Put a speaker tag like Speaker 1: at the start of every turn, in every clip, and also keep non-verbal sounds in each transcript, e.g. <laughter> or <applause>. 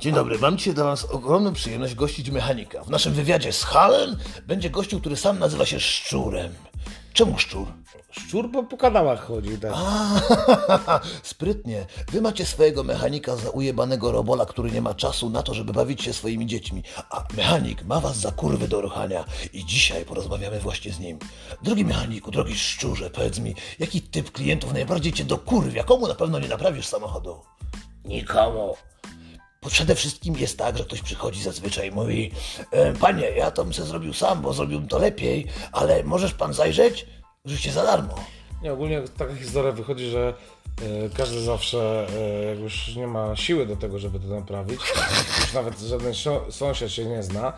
Speaker 1: Dzień dobry, mam dzisiaj dla Was ogromną przyjemność gościć mechanika. W naszym wywiadzie z Halem będzie gościu, który sam nazywa się Szczurem. Czemu szczur?
Speaker 2: Szczur po, po kanałach chodził, tak.
Speaker 1: A, <laughs> sprytnie. Wy macie swojego mechanika za ujebanego robola, który nie ma czasu na to, żeby bawić się swoimi dziećmi. A mechanik ma was za kurwy do ruchania. I dzisiaj porozmawiamy właśnie z nim. Drogi mechaniku, drogi szczurze, powiedz mi, jaki typ klientów najbardziej cię dokurwia? Komu na pewno nie naprawisz samochodu?
Speaker 2: Nikomu.
Speaker 1: Bo Przede wszystkim jest tak, że ktoś przychodzi zazwyczaj i mówi e, Panie, ja to bym se zrobił sam, bo zrobiłbym to lepiej, ale możesz pan zajrzeć? Oczywiście za darmo.
Speaker 2: Nie, ogólnie taka historia wychodzi, że e, każdy zawsze, e, jak już nie ma siły do tego, żeby to naprawić, <laughs> już nawet żaden sio- sąsiad się nie zna,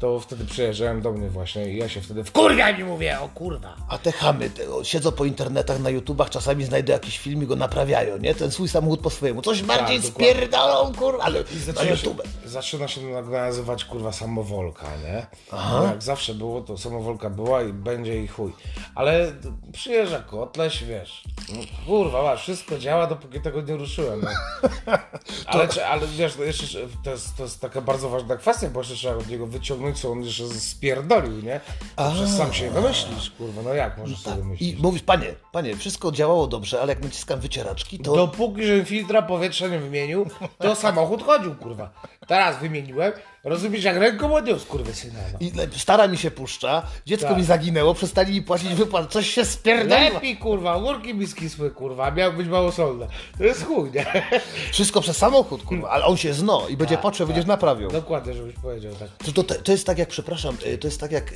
Speaker 2: to wtedy przyjeżdżałem do mnie właśnie i ja się wtedy wkurwiam i mówię, o kurwa.
Speaker 1: A te chamy te, o, siedzą po internetach, na YouTubach, czasami znajdą jakiś film i go naprawiają, nie? Ten swój samochód po swojemu. Coś bardziej
Speaker 2: Tak, dokładnie.
Speaker 1: spierdolą, kurwa, ale na
Speaker 2: Zaczyna się,
Speaker 1: YouTube.
Speaker 2: zaczyna się nazywać kurwa samowolka, nie? Bo jak zawsze było, to samowolka była i będzie i chuj. Ale przyjeżdża kotleś, wiesz, no, kurwa, masz, wszystko działa, dopóki tego nie ruszyłem. No.
Speaker 1: <laughs>
Speaker 2: Ale, czy, ale wiesz, no jeszcze, to, jest, to jest taka bardzo ważna kwestia, bo jeszcze trzeba od niego wyciągnąć, co on jeszcze spierdolił, nie? Że sam się nie domyślisz, kurwa, no jak możesz sobie
Speaker 1: tak. I
Speaker 2: domyślić?
Speaker 1: mówisz, panie, panie, wszystko działało dobrze, ale jak naciskam wycieraczki, to...
Speaker 2: Dopóki, żebym filtra powietrza nie wymienił, to samochód chodził, kurwa. Teraz wymieniłem, rozumiesz, jak ręką odniósł, kurwa, syna. No.
Speaker 1: I le- stara mi się puszcza, dziecko
Speaker 2: Tak.
Speaker 1: mi zaginęło, przestali mi płacić wypłat, coś się spierdoliło.
Speaker 2: Lepiej, kurwa, górki mi skisły, kurwa, miał być małosolne. To jest chuj, nie?
Speaker 1: Wszystko przez samochód, kurwa, ale on się zno i
Speaker 2: Tak,
Speaker 1: będzie patrzył, będziesz naprawiał.
Speaker 2: Dokładnie, żebyś powiedział tak.
Speaker 1: To, to, to jest tak jak, przepraszam, y, to jest tak jak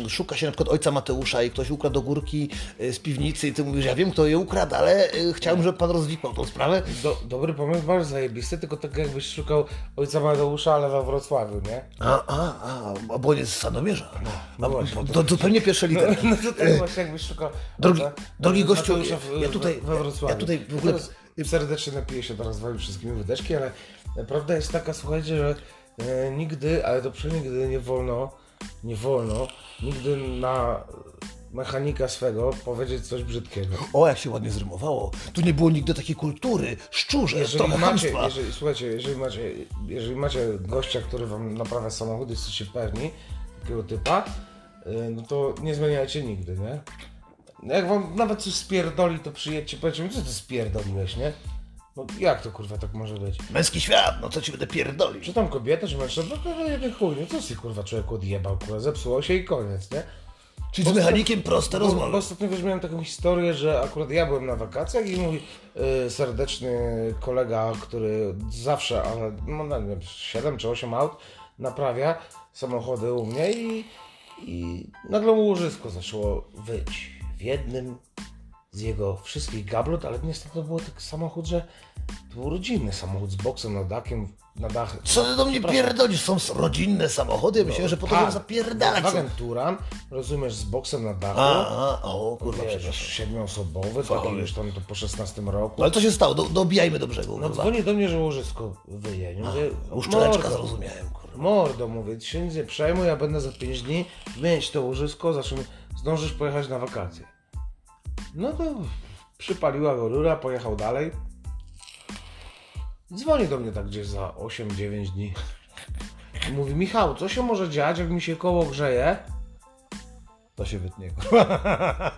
Speaker 1: ym, szuka się na przykład ojca Mateusza i ktoś ukradł ogórki y, z piwnicy i ty mówisz, ja wiem kto je ukradł, ale y, chciałbym, żeby pan rozwikłał tą sprawę.
Speaker 2: Do, dobry pomysł, bardzo zajebisty, tylko tak jakbyś szukał ojca Mateusza, ale we Wrocławiu, nie?
Speaker 1: A, a, a, a bo on jest z Sandomierza.
Speaker 2: no właśnie.
Speaker 1: to, to pewnie pierwsze litery.
Speaker 2: <laughs> No to tak właśnie jakbyś szukał
Speaker 1: Drogi-
Speaker 2: ojca-
Speaker 1: drogi
Speaker 2: ojca
Speaker 1: gościu,
Speaker 2: Mateusza w-
Speaker 1: ja tutaj-
Speaker 2: we Wrocławiu.
Speaker 1: ja tutaj w ogóle-
Speaker 2: Teraz Serdecznie napiję się teraz wami wszystkimi wydeczki, ale prawda jest taka, słuchajcie, że e, nigdy, ale to przenigdy nie wolno, nie wolno nigdy na mechanika swego powiedzieć coś brzydkiego.
Speaker 1: O, jak się ładnie zrymowało. Tu nie było nigdy takiej kultury. Szczurze,
Speaker 2: Jeżeli
Speaker 1: trochę
Speaker 2: macie,
Speaker 1: chamstwa.
Speaker 2: jeżeli, słuchajcie, jeżeli macie, jeżeli macie gościa, który wam naprawia samochód, jesteście pewni takiego typa, y, no to nie zmieniajcie nigdy, nie? No Jak wam nawet coś spierdoli, to przyjedźcie, powiedzcie mi, co ty spierdoliłeś, nie? No jak to kurwa tak może być?
Speaker 1: Męski świat, no co ci będę pierdolił.
Speaker 2: Czy tam kobieta, czy mężczyzna, no to jeden chuj, no co ty kurwa człowiek odjebał, kurwa, zepsuło się i koniec, nie?
Speaker 1: Czyli z mechanikiem proste
Speaker 2: Bo, bo
Speaker 1: rozmowy.
Speaker 2: ostatnio wiesz, miałem taką historię, że akurat ja byłem na wakacjach i mój y, serdeczny kolega, który zawsze, ale no, no, nie wiem, 7 czy 8 aut naprawia samochody u mnie i, i nagle mu łożysko zaczęło wyć w jednym z jego wszystkich gablot, ale niestety to był taki samochód, że to był rodzinny samochód z boksem na dakiem, na dach.
Speaker 1: Co ty do mnie pierdolisz? Są s- rodzinne samochody? Ja myślałem, że po to, żeby zapierdalać.
Speaker 2: Wagen Turan, rozumiesz, z boksem na dachu.
Speaker 1: A, a, o, kurwa,
Speaker 2: Wiesz,
Speaker 1: przepraszam.
Speaker 2: siedmioosobowy, taki
Speaker 1: Fachowy.
Speaker 2: już tam to po 16 roku.
Speaker 1: No ale co się stało? Do, dobijajmy do brzegu.
Speaker 2: No
Speaker 1: kurwa.
Speaker 2: dzwoni do mnie, że łożysko wyje. Nie Mówię,
Speaker 1: Uszczeleczka
Speaker 2: mordo,
Speaker 1: zrozumiałem, kurwa.
Speaker 2: Mordo, mówię, ci się nic nie przejmuj, ja będę za 5 dni wymienić to łożysko, za czym zdążysz pojechać na wakacje. No to przypaliła go rura, pojechał dalej. Dzwoni do mnie tak gdzieś za 8-9 dni. I Mówi, Michał, co się może dziać, jak mi się koło grzeje?
Speaker 1: To się wytnie.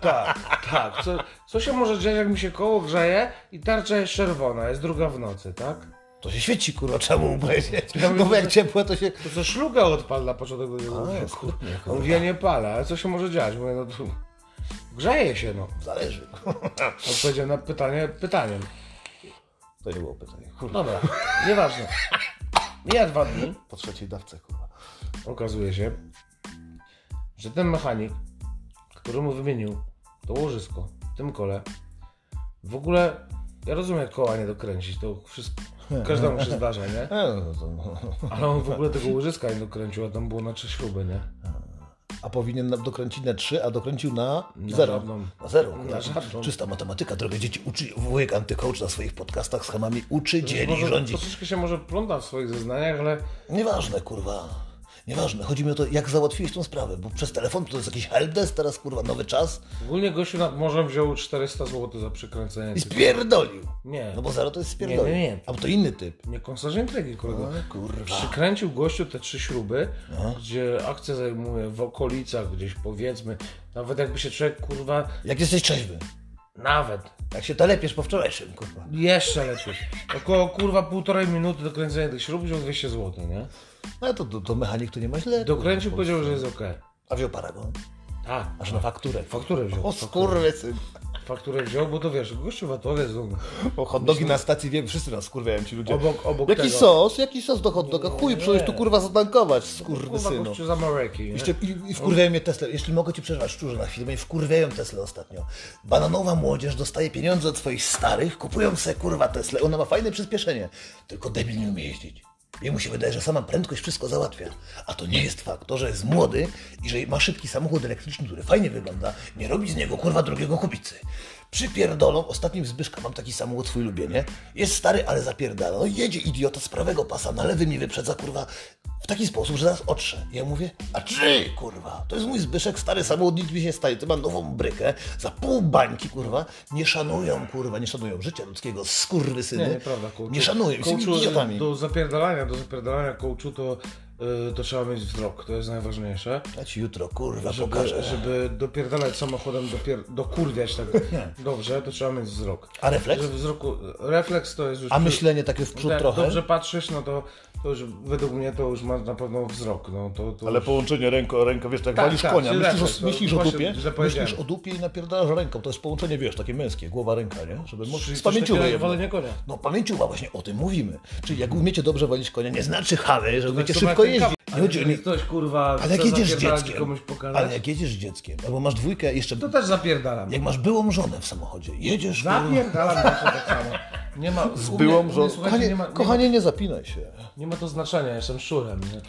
Speaker 2: Tak, co, co się może dziać, jak mi się koło grzeje i tarcza jest czerwona, jest druga w nocy, tak?
Speaker 1: To się świeci, kurwa, trzeba mu powiedzieć.
Speaker 2: Ja
Speaker 1: No
Speaker 2: mówię,
Speaker 1: bo jak
Speaker 2: że-
Speaker 1: ciepłe, to się...
Speaker 2: To co szluga odpal na początek do niego.
Speaker 1: A, skutnie,
Speaker 2: A on mówi, ja nie palę, ale co się może dziać? Mówię, no tu, grzeje się, no.
Speaker 1: Zależy.
Speaker 2: Odpowiedziałem na pytanie pytaniem.
Speaker 1: To nie było pytanie. Kurwa,
Speaker 2: Dobra, nieważne. Mija dwa dni,
Speaker 1: po trzeciej dawce, kurwa.
Speaker 2: okazuje się, że ten mechanik, który mu wymienił to łożysko w tym kole, w ogóle, ja rozumiem, jak koła nie dokręcić, to wszystko, każdemu się zdarza, nie?
Speaker 1: E, no to...
Speaker 2: Ale on w ogóle tego łożyska nie dokręcił, a tam było na trzy śruby, nie?
Speaker 1: A powinien nam dokręcić na 3, a dokręcił na
Speaker 2: Na
Speaker 1: zero.
Speaker 2: żadną.
Speaker 1: Na zero. kurwa.
Speaker 2: Na żadną.
Speaker 1: Czysta matematyka. Drogie dzieci uczy, wujek antycoach na swoich podcastach z chamami uczy, dzieli,
Speaker 2: Może
Speaker 1: rządzi.
Speaker 2: Troszeczkę się może pląta w swoich zeznaniach, ale
Speaker 1: Nieważne, kurwa. Nieważne, chodzi mi o to, jak załatwiłeś tą sprawę, bo przez telefon to jest jakiś helpdesk, teraz kurwa nowy czas
Speaker 2: Ogólnie gościu nad morzem wziął 400 zł za przekręcenie.
Speaker 1: i spierdolił.
Speaker 2: Nie.
Speaker 1: No bo zero to jest spierdolił.
Speaker 2: Nie, No, nie, nie.
Speaker 1: A bo to inny typ.
Speaker 2: Nie kąsarz intrygi,
Speaker 1: No,
Speaker 2: kolego.
Speaker 1: Kurwa.
Speaker 2: Przykręcił gościu te trzy śruby,
Speaker 1: No.
Speaker 2: gdzie akcja zajmuje w okolicach gdzieś powiedzmy, nawet jakby się człowiek kurwa,
Speaker 1: Jak jesteś trzeźwy?
Speaker 2: nawet,
Speaker 1: Jak się telepiesz po wczorajszym, kurwa. No
Speaker 2: jeszcze lepiej. Około kurwa półtorej minuty dokręcenia tych śrub wziął 200 zł, nie?
Speaker 1: No to, to, to mechanik to nie ma źle.
Speaker 2: Dokręcił,
Speaker 1: kurwa.
Speaker 2: powiedział, że jest okej.
Speaker 1: A wziął paragon.
Speaker 2: Tak,
Speaker 1: Aż na fakturę.
Speaker 2: fakturę wziął.
Speaker 1: O skurwysyn.
Speaker 2: Fakturę wziął, bo to wiesz, gościu watowiec, no,
Speaker 1: O hot dogi na stacji wiem, wszyscy nas skurwiają ci ludzie.
Speaker 2: obok, obok
Speaker 1: Jaki
Speaker 2: tego.
Speaker 1: sos? Jaki sos do hot doga? Chuj, przyszedłeś tu kurwa zatankować,
Speaker 2: Kurwa no
Speaker 1: skurwysynu.
Speaker 2: gościu z Ameryki, nie?
Speaker 1: Jeszcze, i, I wkurwiają mnie Tesla. Jeśli mogę ci przerwać szczurze na chwilę, mnie wkurwiają Tesla ostatnio. Bananowa młodzież dostaje pieniądze od swoich starych, kupują sobie kurwa Tesla. Ona ma fajne przyspieszenie, tylko debil nie umie jeździć. Jemu się wydaje, że sama prędkość wszystko załatwia. A to nie jest fakt. To, że jest młody i że ma szybki samochód elektryczny, który fajnie wygląda, nie robi z niego kurwa drugiego kupicy. Przypierdolą, ostatnim Zbyszka, mam taki samochód swój lubię, nie? Jest stary, ale zapierdala. No jedzie idiota z prawego pasa, na lewy mi wyprzedza, kurwa, w taki sposób, że zaraz otrze. Ja mówię, a czy, kurwa, to jest mój Zbyszek, stary samochód, nic mi się staje, to ma nową brykę, za pół bańki, kurwa, nie szanują, kurwa, nie szanują życia ludzkiego, skurwysyny.
Speaker 2: Nie, nieprawda, kołczu.
Speaker 1: no. Nie szanują, są
Speaker 2: Kołczu,
Speaker 1: idiotami.
Speaker 2: Do zapierdalania, do zapierdalania kołczu to, y, to trzeba mieć wzrok, to jest najważniejsze.
Speaker 1: Ja ci jutro, kurwa, pokażę.
Speaker 2: Żeby, żeby dopierdalać samochodem, dopier-
Speaker 1: <laughs>
Speaker 2: dokurwiać tak dobrze, to trzeba mieć wzrok.
Speaker 1: A refleks?
Speaker 2: Że wzroku, refleks to jest już...
Speaker 1: A myślenie takie w przód
Speaker 2: Jak
Speaker 1: trochę?
Speaker 2: Tak, dobrze patrzysz, no to, to już według mnie to już ma na pewno wzrok. No, to, to
Speaker 1: Ale
Speaker 2: już...
Speaker 1: połączenie ręko, ręka, wiesz, tak,
Speaker 2: Tak,
Speaker 1: walisz
Speaker 2: tak,
Speaker 1: konia,
Speaker 2: czyli
Speaker 1: myślisz,
Speaker 2: refleks,
Speaker 1: o,
Speaker 2: to
Speaker 1: myślisz o
Speaker 2: właśnie,
Speaker 1: dupie,
Speaker 2: że powiedziałem.
Speaker 1: myślisz o dupie i napierdalasz ręką. To jest połączenie, wiesz, takie męskie, głowa, ręka, nie? Żeby
Speaker 2: Czyli
Speaker 1: móc z
Speaker 2: coś
Speaker 1: pamięcią
Speaker 2: takiego jak
Speaker 1: jedno.
Speaker 2: walenie konia.
Speaker 1: No pamięciuwa, właśnie o tym mówimy. Czyli jak umiecie dobrze walić konia, nie znaczy chamy, że umiecie
Speaker 2: Tak samo
Speaker 1: szybko
Speaker 2: jak
Speaker 1: jeździć.
Speaker 2: ten kawał.
Speaker 1: Nie chodzi o
Speaker 2: Ale
Speaker 1: nie...
Speaker 2: jak ktoś kurwa
Speaker 1: Ale jak
Speaker 2: chce
Speaker 1: jedziesz z
Speaker 2: zapierdalać i
Speaker 1: dzieckiem,
Speaker 2: komuś pokazać,
Speaker 1: ale jak jedziesz z dzieckiem, albo masz dwójkę jeszcze,
Speaker 2: to też zapierdalam.
Speaker 1: jak masz byłą żonę w samochodzie, jedziesz... kurwa,
Speaker 2: Zapierdalam zawsze tak samo. Nie ma, No. z
Speaker 3: byłą żoną.
Speaker 2: Słuchajcie, nie
Speaker 1: Kochanie,
Speaker 2: ma, nie, ma,
Speaker 1: kochanie, nie zapinaj się.
Speaker 2: nie ma to znaczenia, ja jestem szurem. Nie?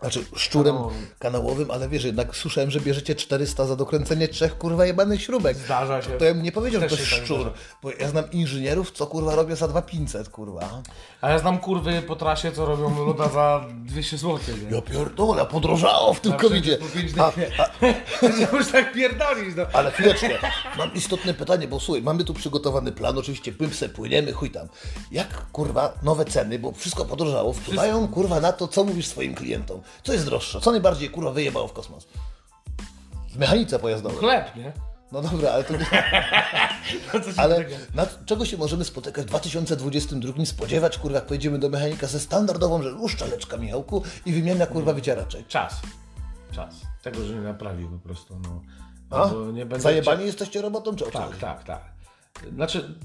Speaker 1: Znaczy szczurem kanałowym, ale wiesz, jednak słyszałem, że bierzecie 400 za dokręcenie trzech kurwa jebanych śrubek.
Speaker 2: Zdarza się.
Speaker 1: To ja bym nie powiedział, że to
Speaker 2: Też
Speaker 1: jest
Speaker 2: się tak
Speaker 1: szczur,
Speaker 2: zdarza.
Speaker 1: bo ja znam inżynierów, co kurwa robią za 2500, kurwa.
Speaker 2: A ja znam kurwy po trasie, co robią luda za 200 zł. Nie?
Speaker 1: Ja pierdolę, podrożało w tym covidzie.
Speaker 2: Po pięć
Speaker 1: No, A,
Speaker 2: dych, nie? <laughs> Że Już tak pierdolisz. No.
Speaker 1: ale chwileczkę, mam istotne pytanie, bo słuchaj, mamy tu przygotowany plan, oczywiście płym se płyniemy, chuj tam. Jak kurwa nowe ceny, bo wszystko podrożało, wpływają kurwa na to, co mówisz swoim klientom. Co jest droższe, co najbardziej kurwa wyjebało w kosmos? W mechanice pojazdowej.
Speaker 2: Chleb, nie?
Speaker 1: No dobra, ale to nie... <laughs>
Speaker 2: No co się
Speaker 1: Ale
Speaker 2: tego-
Speaker 1: na czego się możemy spotykać w 2022 spodziewać, kurwa, jak pojedziemy do mechanika ze standardową, że uszczeleczka Michałku i wymiana, kurwa, wycieraczek.
Speaker 2: Czas. Czas. Tego, że nie naprawił po prostu. No.
Speaker 1: A?
Speaker 2: Albo nie będę
Speaker 1: Zajebani jesteście robotą, czy o co
Speaker 2: Tak,
Speaker 1: chodzi?
Speaker 2: tak, tak. Znaczy,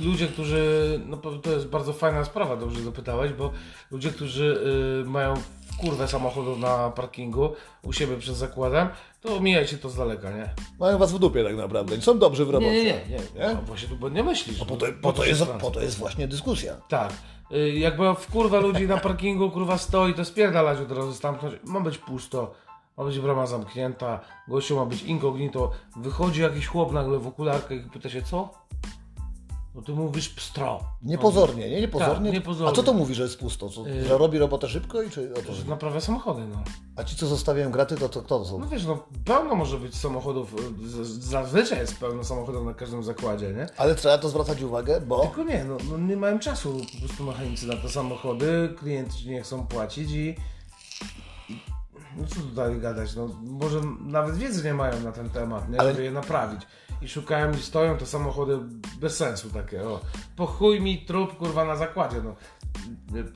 Speaker 2: ludzie, którzy. No po- to jest bardzo fajna sprawa, dobrze zapytałeś, bo ludzie, którzy y, mają kurwę samochodów na parkingu u siebie przed zakładem, to omijajcie to z daleka, nie?
Speaker 1: Mają was w dupie tak naprawdę, nie są dobrzy w robocie.
Speaker 2: nie.
Speaker 1: Nie?
Speaker 2: No, właśnie tu bo nie myślisz. no
Speaker 1: Po to, po, to jest, po to jest właśnie dyskusja.
Speaker 2: Tak. Y, Jak była w kurwa ludzi na parkingu, kurwa stoi, to spierdalać od razu stamtąd. Ma być pusto, ma być brama zamknięta, gościu ma być incognito. Wychodzi jakiś chłop nagle w okularkę i pyta się, co? No ty mówisz pstro.
Speaker 1: No. Niepozornie, nie? Niepozornie.
Speaker 2: Tak, niepozornie.
Speaker 1: A co to mówi, że jest pusto? Co,
Speaker 2: Yy.
Speaker 1: Że robi robotę szybko i czy o to?
Speaker 2: Że Naprawia samochody, no.
Speaker 1: A ci, co zostawiają graty, to, to kto to są?
Speaker 2: No wiesz, no pełno może być samochodów, y, z- z- zazwyczaj jest pełno samochodów na każdym zakładzie, nie?
Speaker 1: Ale trzeba to zwracać uwagę, bo...
Speaker 2: Tylko nie, no, no nie mają czasu po prostu mechanicy na te samochody, klienci nie chcą płacić i... i- No co tutaj gadać, no może nawet wiedzy nie mają na ten temat, nie?
Speaker 1: Ale-
Speaker 2: Żeby je naprawić. I szukają i stoją te samochody bez sensu takie, o. Po chuj mi trup kurwa na zakładzie, no.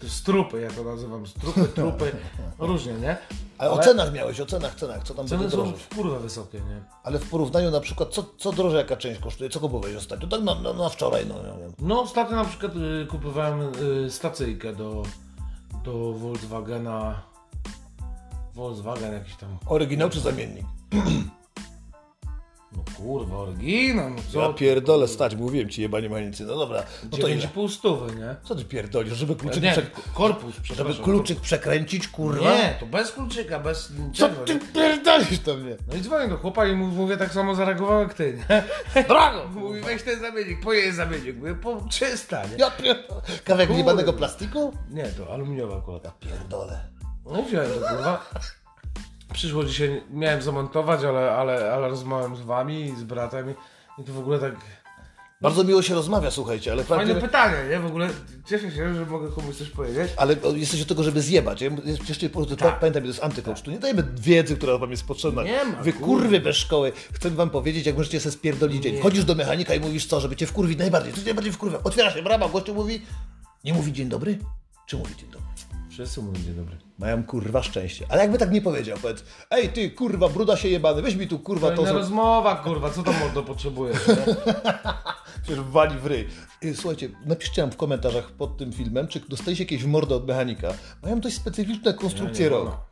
Speaker 2: Strupy, ja to nazywam, strupy,
Speaker 1: <laughs>
Speaker 2: trupy, różnie, nie?
Speaker 1: Ale o cenach miałeś, o cenach, cenach, co tam
Speaker 2: Ceny
Speaker 1: będzie
Speaker 2: są
Speaker 1: drożej?
Speaker 2: w kurwa wysokie, nie?
Speaker 1: Ale w porównaniu na przykład, co, co drożej jaka część kosztuje, co kupowałeś ostatnio? Tak na, na, na wczoraj, no nie wiem.
Speaker 2: No ostatnio na przykład y, kupowałem y, stacyjkę do, do Volkswagena. Volkswagen jakiś tam.
Speaker 1: Oryginał czy zamiennik?
Speaker 2: No kurwa, oryginał, no co?
Speaker 1: Ja pierdolę, stać, mówiłem ci jebanie manicy. No dobra, no to ile?
Speaker 2: 9,5 stówy, nie?
Speaker 1: Co ty pierdolisz, żeby kluczyk,
Speaker 2: nie,
Speaker 1: przek-
Speaker 2: k- korpus, przepraszam.
Speaker 1: żeby kluczyk przekręcić,
Speaker 2: korpus.
Speaker 1: kurwa?
Speaker 2: Nie, to bez kluczyka, bez
Speaker 1: Co
Speaker 2: niczego.
Speaker 1: ty
Speaker 2: nie?
Speaker 1: pierdolisz do mnie?
Speaker 2: No i dzwonię do chłopa i mu mówię tak samo zareagowałem jak ty, nie? Drago! <laughs> Mówi, weź ten zamiennik, pojedź zamiennik. Mówię, po 300, nie?
Speaker 1: Ja pierdolę. Kawałek
Speaker 2: Kurwa.
Speaker 1: jebanego plastiku?
Speaker 2: Nie, to aluminiowa akurat.
Speaker 1: Pierdolę.
Speaker 2: No wziąłem to kurwa. Przyszło dzisiaj, miałem zamontować, ale, ale, ale rozmawiałem z wami i z bratem i- i to w ogóle tak...
Speaker 1: Bardzo miło się rozmawia, słuchajcie, ale
Speaker 2: Fajne
Speaker 1: prawdziwe...
Speaker 2: pytanie, nie? W ogóle cieszę się, że mogę komuś coś powiedzieć.
Speaker 1: Ale jesteś od tego, żeby zjebać. Ja jest- jeszcze po prostu tak. pamiętam, to jest antykoacz. Tu nie dajemy wiedzy, która wam jest potrzebna.
Speaker 2: Nie ma,
Speaker 1: Wy kurwy bez szkoły. Chcę wam powiedzieć, jak możecie sobie spierdolić dzień. Chodzisz do mechanika i mówisz co, żeby cię wkurwić najbardziej. Co cię najbardziej wkurwia? Otwiera się brama, gościu mówi... Nie mówi dzień dobry? Czy mówi dzień dobry?
Speaker 2: Wszyscy mówią dzień dobry.
Speaker 1: Mają kurwa szczęście. Ale jakby tak nie powiedział, powiedz, ej ty kurwa, bruda się jebany, weź mi tu kurwa
Speaker 2: To
Speaker 1: to,
Speaker 2: inna
Speaker 1: co...
Speaker 2: rozmowa, kurwa, co tam mordo <laughs> potrzebujesz, nie?
Speaker 1: Przecież wali w ryj. Y, Słuchajcie, napiszcie nam w komentarzach pod tym filmem, czy dostaliście jakieś w mordę od mechanika. Mają dość specyficzne konstrukcje
Speaker 2: Nie, nie
Speaker 1: rąk.
Speaker 2: wolno.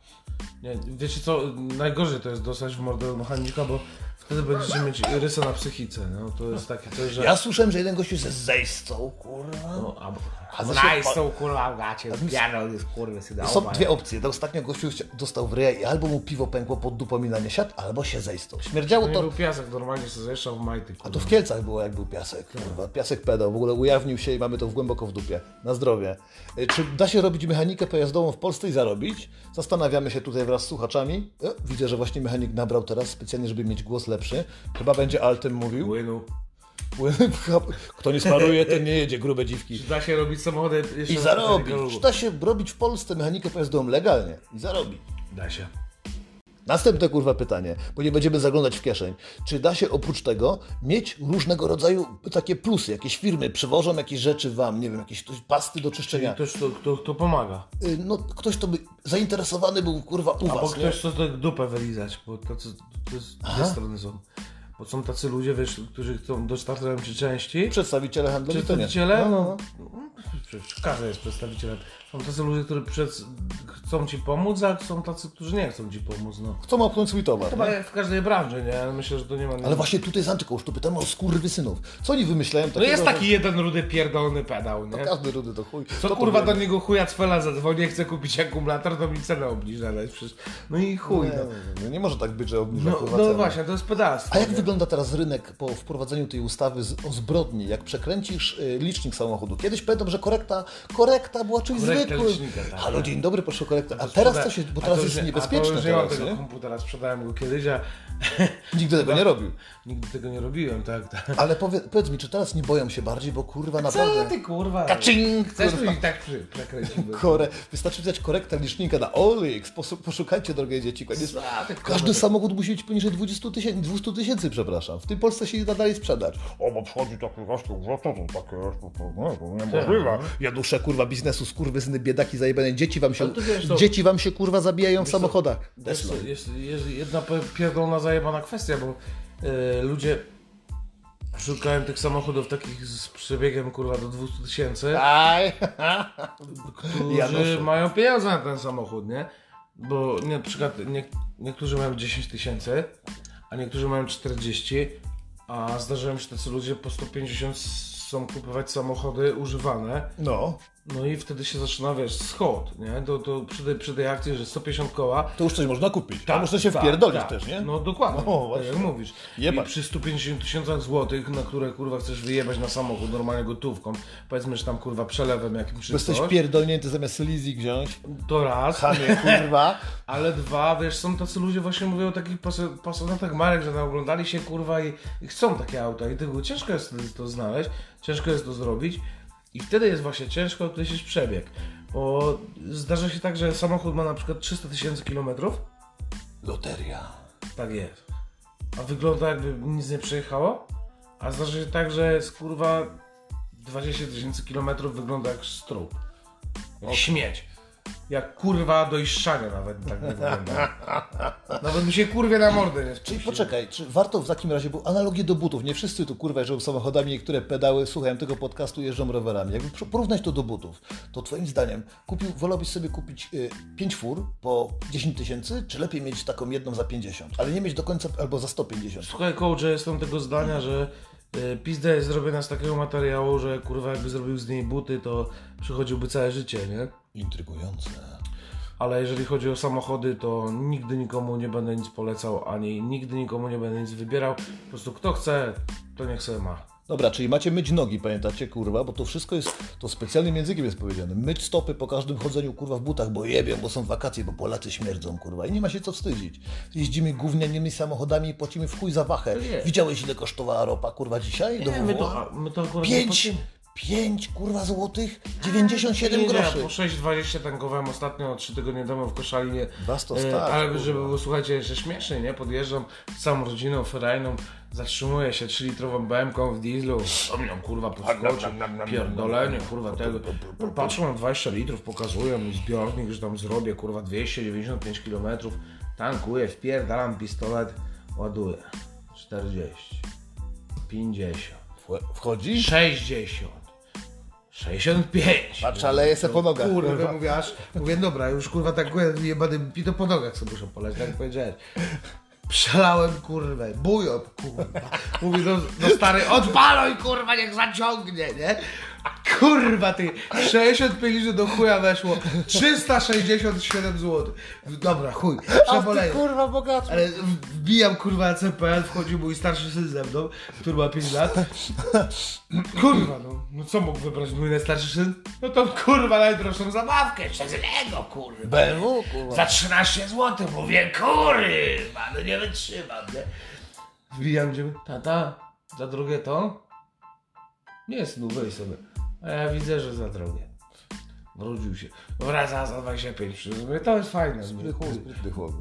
Speaker 2: Nie, wiecie co, najgorzej to jest dostać w mordę od mechanika, bo wtedy będziecie mieć rysę na psychice, no to jest takie coś, że...
Speaker 1: Ja słyszałem, że jeden gościu ze zejścią, kurwa.
Speaker 2: No, albo...
Speaker 1: A za
Speaker 3: Znaj
Speaker 1: się-
Speaker 3: tą kurwa w gacie, pierdol jest kurwa syna
Speaker 1: Są dwie opcje. To Ostatnio gościu chcia- dostał w ryj i albo mu piwo pękło pod dupominanie siat, albo się zejścią. Śmierdziało
Speaker 2: To nie
Speaker 1: to...
Speaker 2: był piasek, normalnie się zajeszczał w majty,
Speaker 1: A
Speaker 2: kurwa.
Speaker 1: to w Kielcach było, jak był piasek. Kurwa. Piasek pedał, w ogóle ujawnił się i mamy to w głęboko w dupie. Na zdrowie. Y, Czy da się robić mechanikę pojazdową w Polsce i zarobić? Zastanawiamy się tutaj wraz z słuchaczami. E, Widzę, że właśnie mechanik nabrał teraz specjalnie, żeby mieć głos lepszy. Chyba będzie Altem mówił.
Speaker 2: Płynu.
Speaker 1: <laughs> Kto nie smaruje, ten nie jedzie, grube dziwki.
Speaker 2: Czy da się robić samochody jeszcze
Speaker 1: I
Speaker 2: na tego
Speaker 1: zarobić.
Speaker 2: lubu?
Speaker 1: Czy da się robić w Polsce mechanikę pojazdową legalnie? I zarobić.
Speaker 2: Da się.
Speaker 1: Następne kurwa pytanie, bo nie będziemy zaglądać w kieszeń. Czy da się oprócz tego mieć różnego rodzaju takie plusy? Jakieś firmy przywożą jakieś rzeczy wam, nie wiem, jakieś tu- pasty do czyszczenia.
Speaker 2: Ktoś, kto, kto, kto pomaga.
Speaker 1: Y, No ktoś to by zainteresowany był kurwa u
Speaker 2: Albo
Speaker 1: was. nie?
Speaker 2: ktoś, kto tak dupę wylizać, bo tacy, to jest dwie strony są. Bo są tacy ludzie, wiesz, którzy chcą dostarczają ci części.
Speaker 1: Przedstawiciele handlowi. to nie.
Speaker 2: Przedstawiciele?
Speaker 1: No, no,
Speaker 2: Przecież każdy jest przedstawicielem. Są tacy ludzie, którzy przed, chcą ci pomóc, a są tacy, którzy nie chcą ci pomóc. No.
Speaker 1: no. Chcą opchnąć swój towar.
Speaker 2: Chyba
Speaker 1: nie?
Speaker 2: jak w każdej branży, nie? Ale Myślę, że to nie ma...
Speaker 1: Ale właśnie tutaj z Antyką już tu pytamy o skurwysynów. Co oni wymyślają
Speaker 2: No
Speaker 1: takiego,
Speaker 2: jest
Speaker 1: że-
Speaker 2: taki jeden rudy pierdolony pedał, nie?
Speaker 1: Każdy rudy to chuj.
Speaker 2: Co
Speaker 1: to
Speaker 2: kurwa
Speaker 1: wiemy.
Speaker 2: do niego chuja cwela zadzwonię, chce kupić akumulator, to mi cenę obniża, ale przecież... No i chuj,
Speaker 1: Nie,
Speaker 2: no.
Speaker 1: nie, nie, nie może tak być, że obniża
Speaker 2: No,
Speaker 1: kurwa
Speaker 2: no
Speaker 1: cenę.
Speaker 2: właśnie, to jest pedalstwo.
Speaker 1: A jak
Speaker 2: nie?
Speaker 1: wygląda teraz rynek po wprowadzeniu tej ustawy z, o zbrodni? Jak przekręcisz y, licznik samochodu? Kiedyś pamiętam, że korekta, korekta była czymś
Speaker 2: Korekta
Speaker 1: zwykłym.
Speaker 2: licznika, tak. No
Speaker 1: Halo, dzień dobry, proszę o korektę. A
Speaker 2: To
Speaker 1: teraz
Speaker 2: sprzeda-
Speaker 1: co się, bo
Speaker 2: a
Speaker 1: teraz
Speaker 2: to
Speaker 1: jest
Speaker 2: już nie-
Speaker 1: niebezpieczne.
Speaker 2: A to już nie mam
Speaker 1: teraz,
Speaker 2: tego No.
Speaker 1: nie?
Speaker 2: komputera, sprzedałem go kiedyś, a
Speaker 1: Nigdy <laughs> tego nie robił.
Speaker 2: nigdy tego nie robiłem, tak, tak.
Speaker 1: Ale powie, powiedz mi, czy teraz nie boją się bardziej, bo kurwa
Speaker 2: Co
Speaker 1: naprawdę...
Speaker 2: ty kurwa?
Speaker 1: Kaczyng!
Speaker 2: Chcesz
Speaker 1: kurwa.
Speaker 2: mi tak przy- przekręcić?
Speaker 1: Kore, wystarczy wziąć korektę licznika na OLX, posu- poszukajcie drogie dzieci. Koniec.
Speaker 2: A, ty kurwa,
Speaker 1: Każdy samochód musi być poniżej 20 tysięcy, 200 tysięcy, przepraszam. W tym Polsce się nie da dalej sprzedać.
Speaker 4: O, bo przychodzi taki gościu, że to, to takie jest, to, to, no, to
Speaker 1: Tak.
Speaker 4: niemożliwe.
Speaker 1: Ja duszę kurwa biznesu, skurwysyny, biedaki zajebane, dzieci wam się,
Speaker 2: Ale to wiesz, to-
Speaker 1: dzieci wam się kurwa zabijają w samochodach.
Speaker 2: Wiesz co,
Speaker 1: Tesla.
Speaker 2: Jest, jest jedna pe- pierdolona zajebana kwestia, bo e, ludzie szukają tych samochodów takich z przebiegiem kurwa do 200 tysięcy,
Speaker 1: Aj.
Speaker 2: którzy
Speaker 1: Janusze.
Speaker 2: mają pieniądze na ten samochód, nie? Bo nie, na przykład nie, niektórzy mają 10 tysięcy, a niektórzy mają 40, a zdarzają się tacy ludzie po 150 są kupować samochody
Speaker 1: <laughs>
Speaker 2: używane,
Speaker 1: No,
Speaker 2: no i wtedy się zaczyna, wiesz, schod, nie? To, to przy, tej, przy tej akcji, że 150 koła, Tak,
Speaker 1: to już coś można kupić. Tam można Tak, się wpierdolić też, nie?
Speaker 2: No dokładnie,
Speaker 1: Tak, No,
Speaker 2: tak
Speaker 1: właśnie.
Speaker 2: jak mówisz.
Speaker 1: Jebać.
Speaker 2: I przy 150 tysiącach złotych, na które kurwa chcesz wyjebać na samochód normalnie gotówką, powiedzmy, że tam kurwa przelewem jakimś czy
Speaker 1: Bo jesteś
Speaker 2: coś,
Speaker 1: pierdolnięty zamiast leasing wziąć.
Speaker 2: to raz,
Speaker 1: Panie, kurwa.
Speaker 2: ale dwa, wiesz, są tacy ludzie właśnie mówią o takich pas- pasjonatach marek, że oglądali się kurwa i, i chcą takie auta i tego ciężko jest wtedy to znaleźć, ciężko jest to zrobić i wtedy jest właśnie ciężko określić przebieg, bo zdarza się tak, że samochód ma na przykład 300 tysięcy kilometrów,
Speaker 1: <laughs> Loteria.
Speaker 2: Tak jest. A wygląda jakby nic nie przejechało? A zdarza się tak, że jest kurwa 20 tysięcy kilometrów wygląda jak strób. Jak śmieć. Jak kurwa do iszczania nawet tak
Speaker 1: <laughs>
Speaker 2: wygląda. Nawet mi się kurwie na mordę nie
Speaker 1: Czyli
Speaker 2: spuści.
Speaker 1: poczekaj, czy warto w takim razie, bo analogię do butów, nie wszyscy tu kurwa jeżdżą samochodami, niektóre pedały słuchają tego podcastu, jeżdżą rowerami. Jakby przy- porównać to do butów, to twoim zdaniem kupił, wolałbyś sobie kupić 5 fur po 10 tysięcy, czy lepiej mieć taką jedną za 50, ale nie mieć do końca albo za 150?
Speaker 2: Słuchaj coach, ja jestem tego zdania, że y, pizda jest zrobiona z takiego materiału, że kurwa jakby zrobił z niej buty, to przychodziłby całe życie, nie?
Speaker 1: Intrygujące.
Speaker 2: ale jeżeli chodzi o samochody, to nigdy nikomu nie będę nic polecał, ani nigdy nikomu nie będę nic wybierał. Po prostu kto chce, to niech sobie ma.
Speaker 1: Dobra, czyli macie myć nogi, pamiętacie, kurwa, bo to wszystko jest, to specjalnym językiem jest powiedziane. Myć stopy po każdym chodzeniu, kurwa, w butach, bo jebią, bo są wakacje, bo Polacy śmierdzą, kurwa, i nie ma się co wstydzić. Jeździmy gównianymi samochodami i płacimy w chuj za wachę.
Speaker 3: Nie.
Speaker 1: Widziałeś, ile kosztowała ropa, kurwa, dzisiaj? Do
Speaker 3: Nie, my to,
Speaker 1: WWA?
Speaker 3: a my to akurat
Speaker 1: Pięć,
Speaker 3: nie
Speaker 1: pięć, kurwa, złotych, 97
Speaker 2: Nie, nie,
Speaker 1: groszy.
Speaker 2: Po 6,20 tankowałem ostatnio 3 tygodnie temu w Koszalinie.
Speaker 1: Was to
Speaker 2: E,
Speaker 1: stać,
Speaker 2: Ale
Speaker 1: kurwa.
Speaker 2: żeby było, słuchajcie, jeszcze śmiesznie, nie? Podjeżdżam z całą rodziną ferajną, zatrzymuję się 3-litrową BM-ką w dieslu, omniam kurwa podskoczy, pierdolenie, kurwa tego. No, Patrzą na 20 litrów, pokazują mi zbiornik, że tam zrobię kurwa 295 km, tankuję, wpierdalam pistolet, ładuję 40, 50,
Speaker 1: Wch- Wchodzi?
Speaker 2: 60, 65.
Speaker 1: Patrz, ale jest po nogach.
Speaker 2: Kurwa, mówię, aż, mówię, dobra, już kurwa tak kurwa, jebany pito po nogach sobie muszę poleć, tak powiedziałeś. Przelałem kurwę, bują kurwa. Mówię do, do stary, odpaluj kurwa, niech zaciągnie, nie? A kurwa ty, 65 że do chuja weszło, 367 zł. Dobra, chuj, przeboleję.
Speaker 1: kurwa, bogacz.
Speaker 2: Ale wbijam kurwa CPL, wchodzi mój starszy syn ze mną, który ma 5 lat. Kurwa, no, no co mógł wybrać mój najstarszy syn? No to kurwa najdroższą zabawkę, jeszcze z Lego, kurwa.
Speaker 1: BMW, kurwa.
Speaker 2: Za 13 zł, mówię, kurwa, no nie wytrzymam, nie? Wbijam gdzie, tata, za drugie to? Nie, synu, weź sobie. A ja widzę, że za drogie. Wrócił się. Wraca za 25, mówię, to jest fajne. mówię, chuj.
Speaker 1: Zbytny chłop.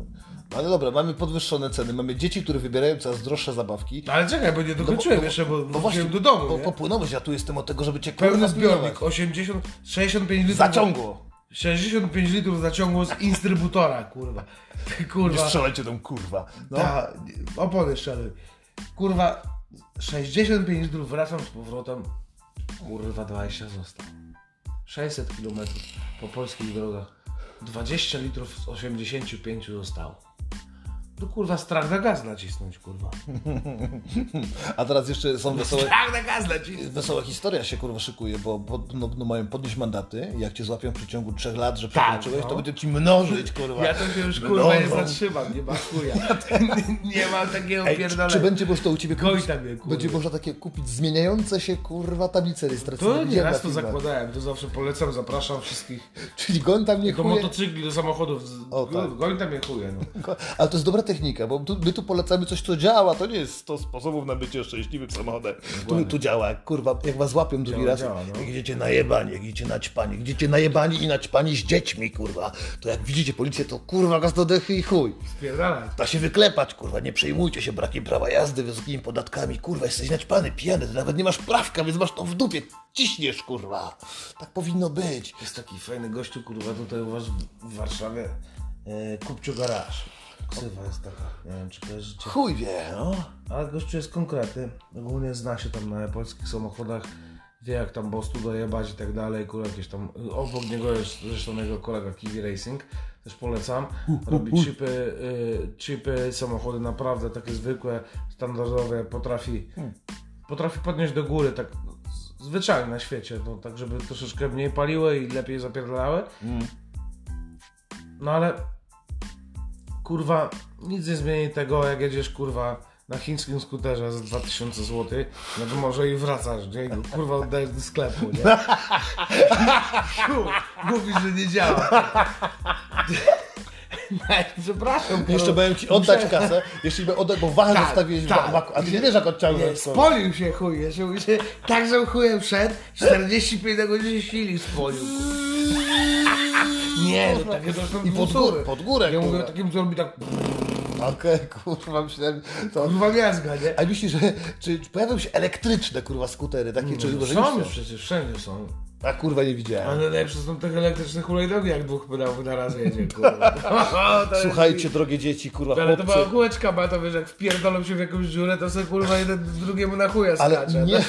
Speaker 1: No ale dobra, mamy podwyższone ceny, mamy dzieci, które wybierają coraz droższe zabawki.
Speaker 2: No ale czekaj, bo nie dokończyłem jeszcze, bo wróciłem do domu,
Speaker 1: bo
Speaker 2: nie?
Speaker 1: popłynąłeś, no ja tu jestem od tego, żeby cię
Speaker 2: Pełny
Speaker 1: kurwa,
Speaker 2: zbiornik,
Speaker 1: pilnować.
Speaker 2: 80, 65 litrów.
Speaker 1: Zaciągło.
Speaker 2: 65 litrów zaciągło z instrybutora, kurwa. <laughs>
Speaker 1: Nie
Speaker 2: Kurwa.
Speaker 1: strzelajcie tą kurwa. No.
Speaker 2: Ta, opony szczery. Kurwa, 65 litrów wracam z powrotem. Kurwa, 20 został. 600 km po polskich drogach. 20 litrów z 85 zostało. No kurwa, strach na gaz nacisnąć, kurwa.
Speaker 1: A teraz jeszcze są wesołe,
Speaker 2: Strach na gaz nacisnąć.
Speaker 1: wesoła historia się kurwa szykuje, bo pod, no, no, mają podnieść mandaty. Jak cię złapią w przeciągu trzech lat, że przekroczyłeś,
Speaker 2: no.
Speaker 1: to będzie ci mnożyć kurwa.
Speaker 2: Ja to się
Speaker 1: No
Speaker 2: już kurwa nie
Speaker 1: Mnożą.
Speaker 2: zatrzymam,
Speaker 1: <laughs>
Speaker 2: nie ma chuja. Nie, nie mam takiego
Speaker 1: Ej, czy,
Speaker 2: pierdolenia.
Speaker 1: czy będzie można u ciebie kupić,
Speaker 2: Gojta mnie, kurwa.
Speaker 1: będzie można takie kupić zmieniające się kurwa tablice rejestracyjne?
Speaker 2: To nie
Speaker 1: Widziałem
Speaker 2: raz
Speaker 1: na
Speaker 2: to
Speaker 1: filmach.
Speaker 2: zakładałem, to zawsze polecam, zapraszam wszystkich.
Speaker 1: Czyli goń tam nie
Speaker 2: Do
Speaker 1: chuje.
Speaker 2: motocykli, do samochodów. z-
Speaker 1: O, tak.
Speaker 2: Goń tam je chuje, no.
Speaker 1: Ko- <laughs> Ale to jest dobra technika, bo tu, my tu polecamy coś, co działa. To nie jest 100 sposobów na bycie szczęśliwym samochodem. Tu, tu działa, kurwa, jak was łapią drugi raz,
Speaker 2: działa, no.
Speaker 1: jak idziecie najebani, jak idziecie naćpani, jak idziecie najebani i naćpani z dziećmi, kurwa, to jak widzicie policję, to kurwa gaz do dechy i chuj.
Speaker 2: Spierdalaj.
Speaker 1: Da się wyklepać, kurwa, nie przejmujcie się brakiem prawa jazdy, wysokimi podatkami, kurwa, jesteś naćpany, pijany, ty nawet nie masz prawka, więc masz to w dupie, ciśniesz, kurwa. Tak powinno być.
Speaker 2: Jest taki fajny gościu, kurwa, tutaj u was w Warszawie. E, Kupciu Garaż. Ksywa jest taka, nie wiem czy kojarzycie.
Speaker 1: Chuj wie, no.
Speaker 2: Ale gościu jest konkretny. Ogólnie zna się tam na polskich samochodach. Wie jak tam bostu dojebać i tak dalej. Kurwa jakieś tam... Obok niego jest zresztą jego kolega Kiwi Racing. Też polecam. Robi chipy, y, chipy, samochody naprawdę takie zwykłe, standardowe. Potrafi, potrafi podnieść do góry tak z- zwyczajnie na świecie. No, tak żeby troszeczkę mniej paliły i lepiej zapierdalały.
Speaker 1: Mm.
Speaker 2: No ale kurwa, nic nie zmieni tego, jak jedziesz kurwa na chińskim skuterze za 2000 zł, no to może i wracasz, nie? I go, Kurwa oddajesz do sklepu, nie?
Speaker 1: <laughs>
Speaker 2: Chuj, Mówisz, że nie działa.
Speaker 1: <laughs>
Speaker 2: <laughs> No, Przepraszam, kurwa.
Speaker 1: Jeszcze miałem ci oddać kasę, jeśli by oddać, bo wachę
Speaker 2: No. Tak,
Speaker 1: zostawiłeś
Speaker 2: tak.
Speaker 1: w baku, a ty nie wiesz jak odciągnąć.
Speaker 2: Nie, Spolił się chuj, jeszcze mi się tak, że chujem wszedł, 45 na godzinę silnik spolił. Nie, no takie to są
Speaker 1: tak I pod
Speaker 2: dwusury.
Speaker 1: górę, pod górę,
Speaker 2: Ja mówię
Speaker 1: kurwa.
Speaker 2: takim, co robi tak
Speaker 1: Okej, kurwa, myślałem, to...
Speaker 2: kurwa gwiazda, nie?
Speaker 1: A myślisz, że czy, czy pojawią się elektryczne, kurwa, skutery, takie, czy może
Speaker 2: no,
Speaker 1: już
Speaker 2: Są już przecież, wszędzie są.
Speaker 1: są? A kurwa, nie widziałem.
Speaker 2: Ale najlepsze są tych elektrycznych hulajnogi, jak dwóch pedałów na raz jedzie,
Speaker 1: <laughs>
Speaker 2: kurwa. To jest-
Speaker 1: Słuchajcie, drogie dzieci, kurwa,
Speaker 2: Ale to
Speaker 1: chłopcy,
Speaker 2: była kółeczka, bo to wiesz, jak wpierdolą się w jakąś dziurę, to sobie kurwa jeden drugiemu na chuja
Speaker 1: ale
Speaker 2: skacze.
Speaker 1: nie...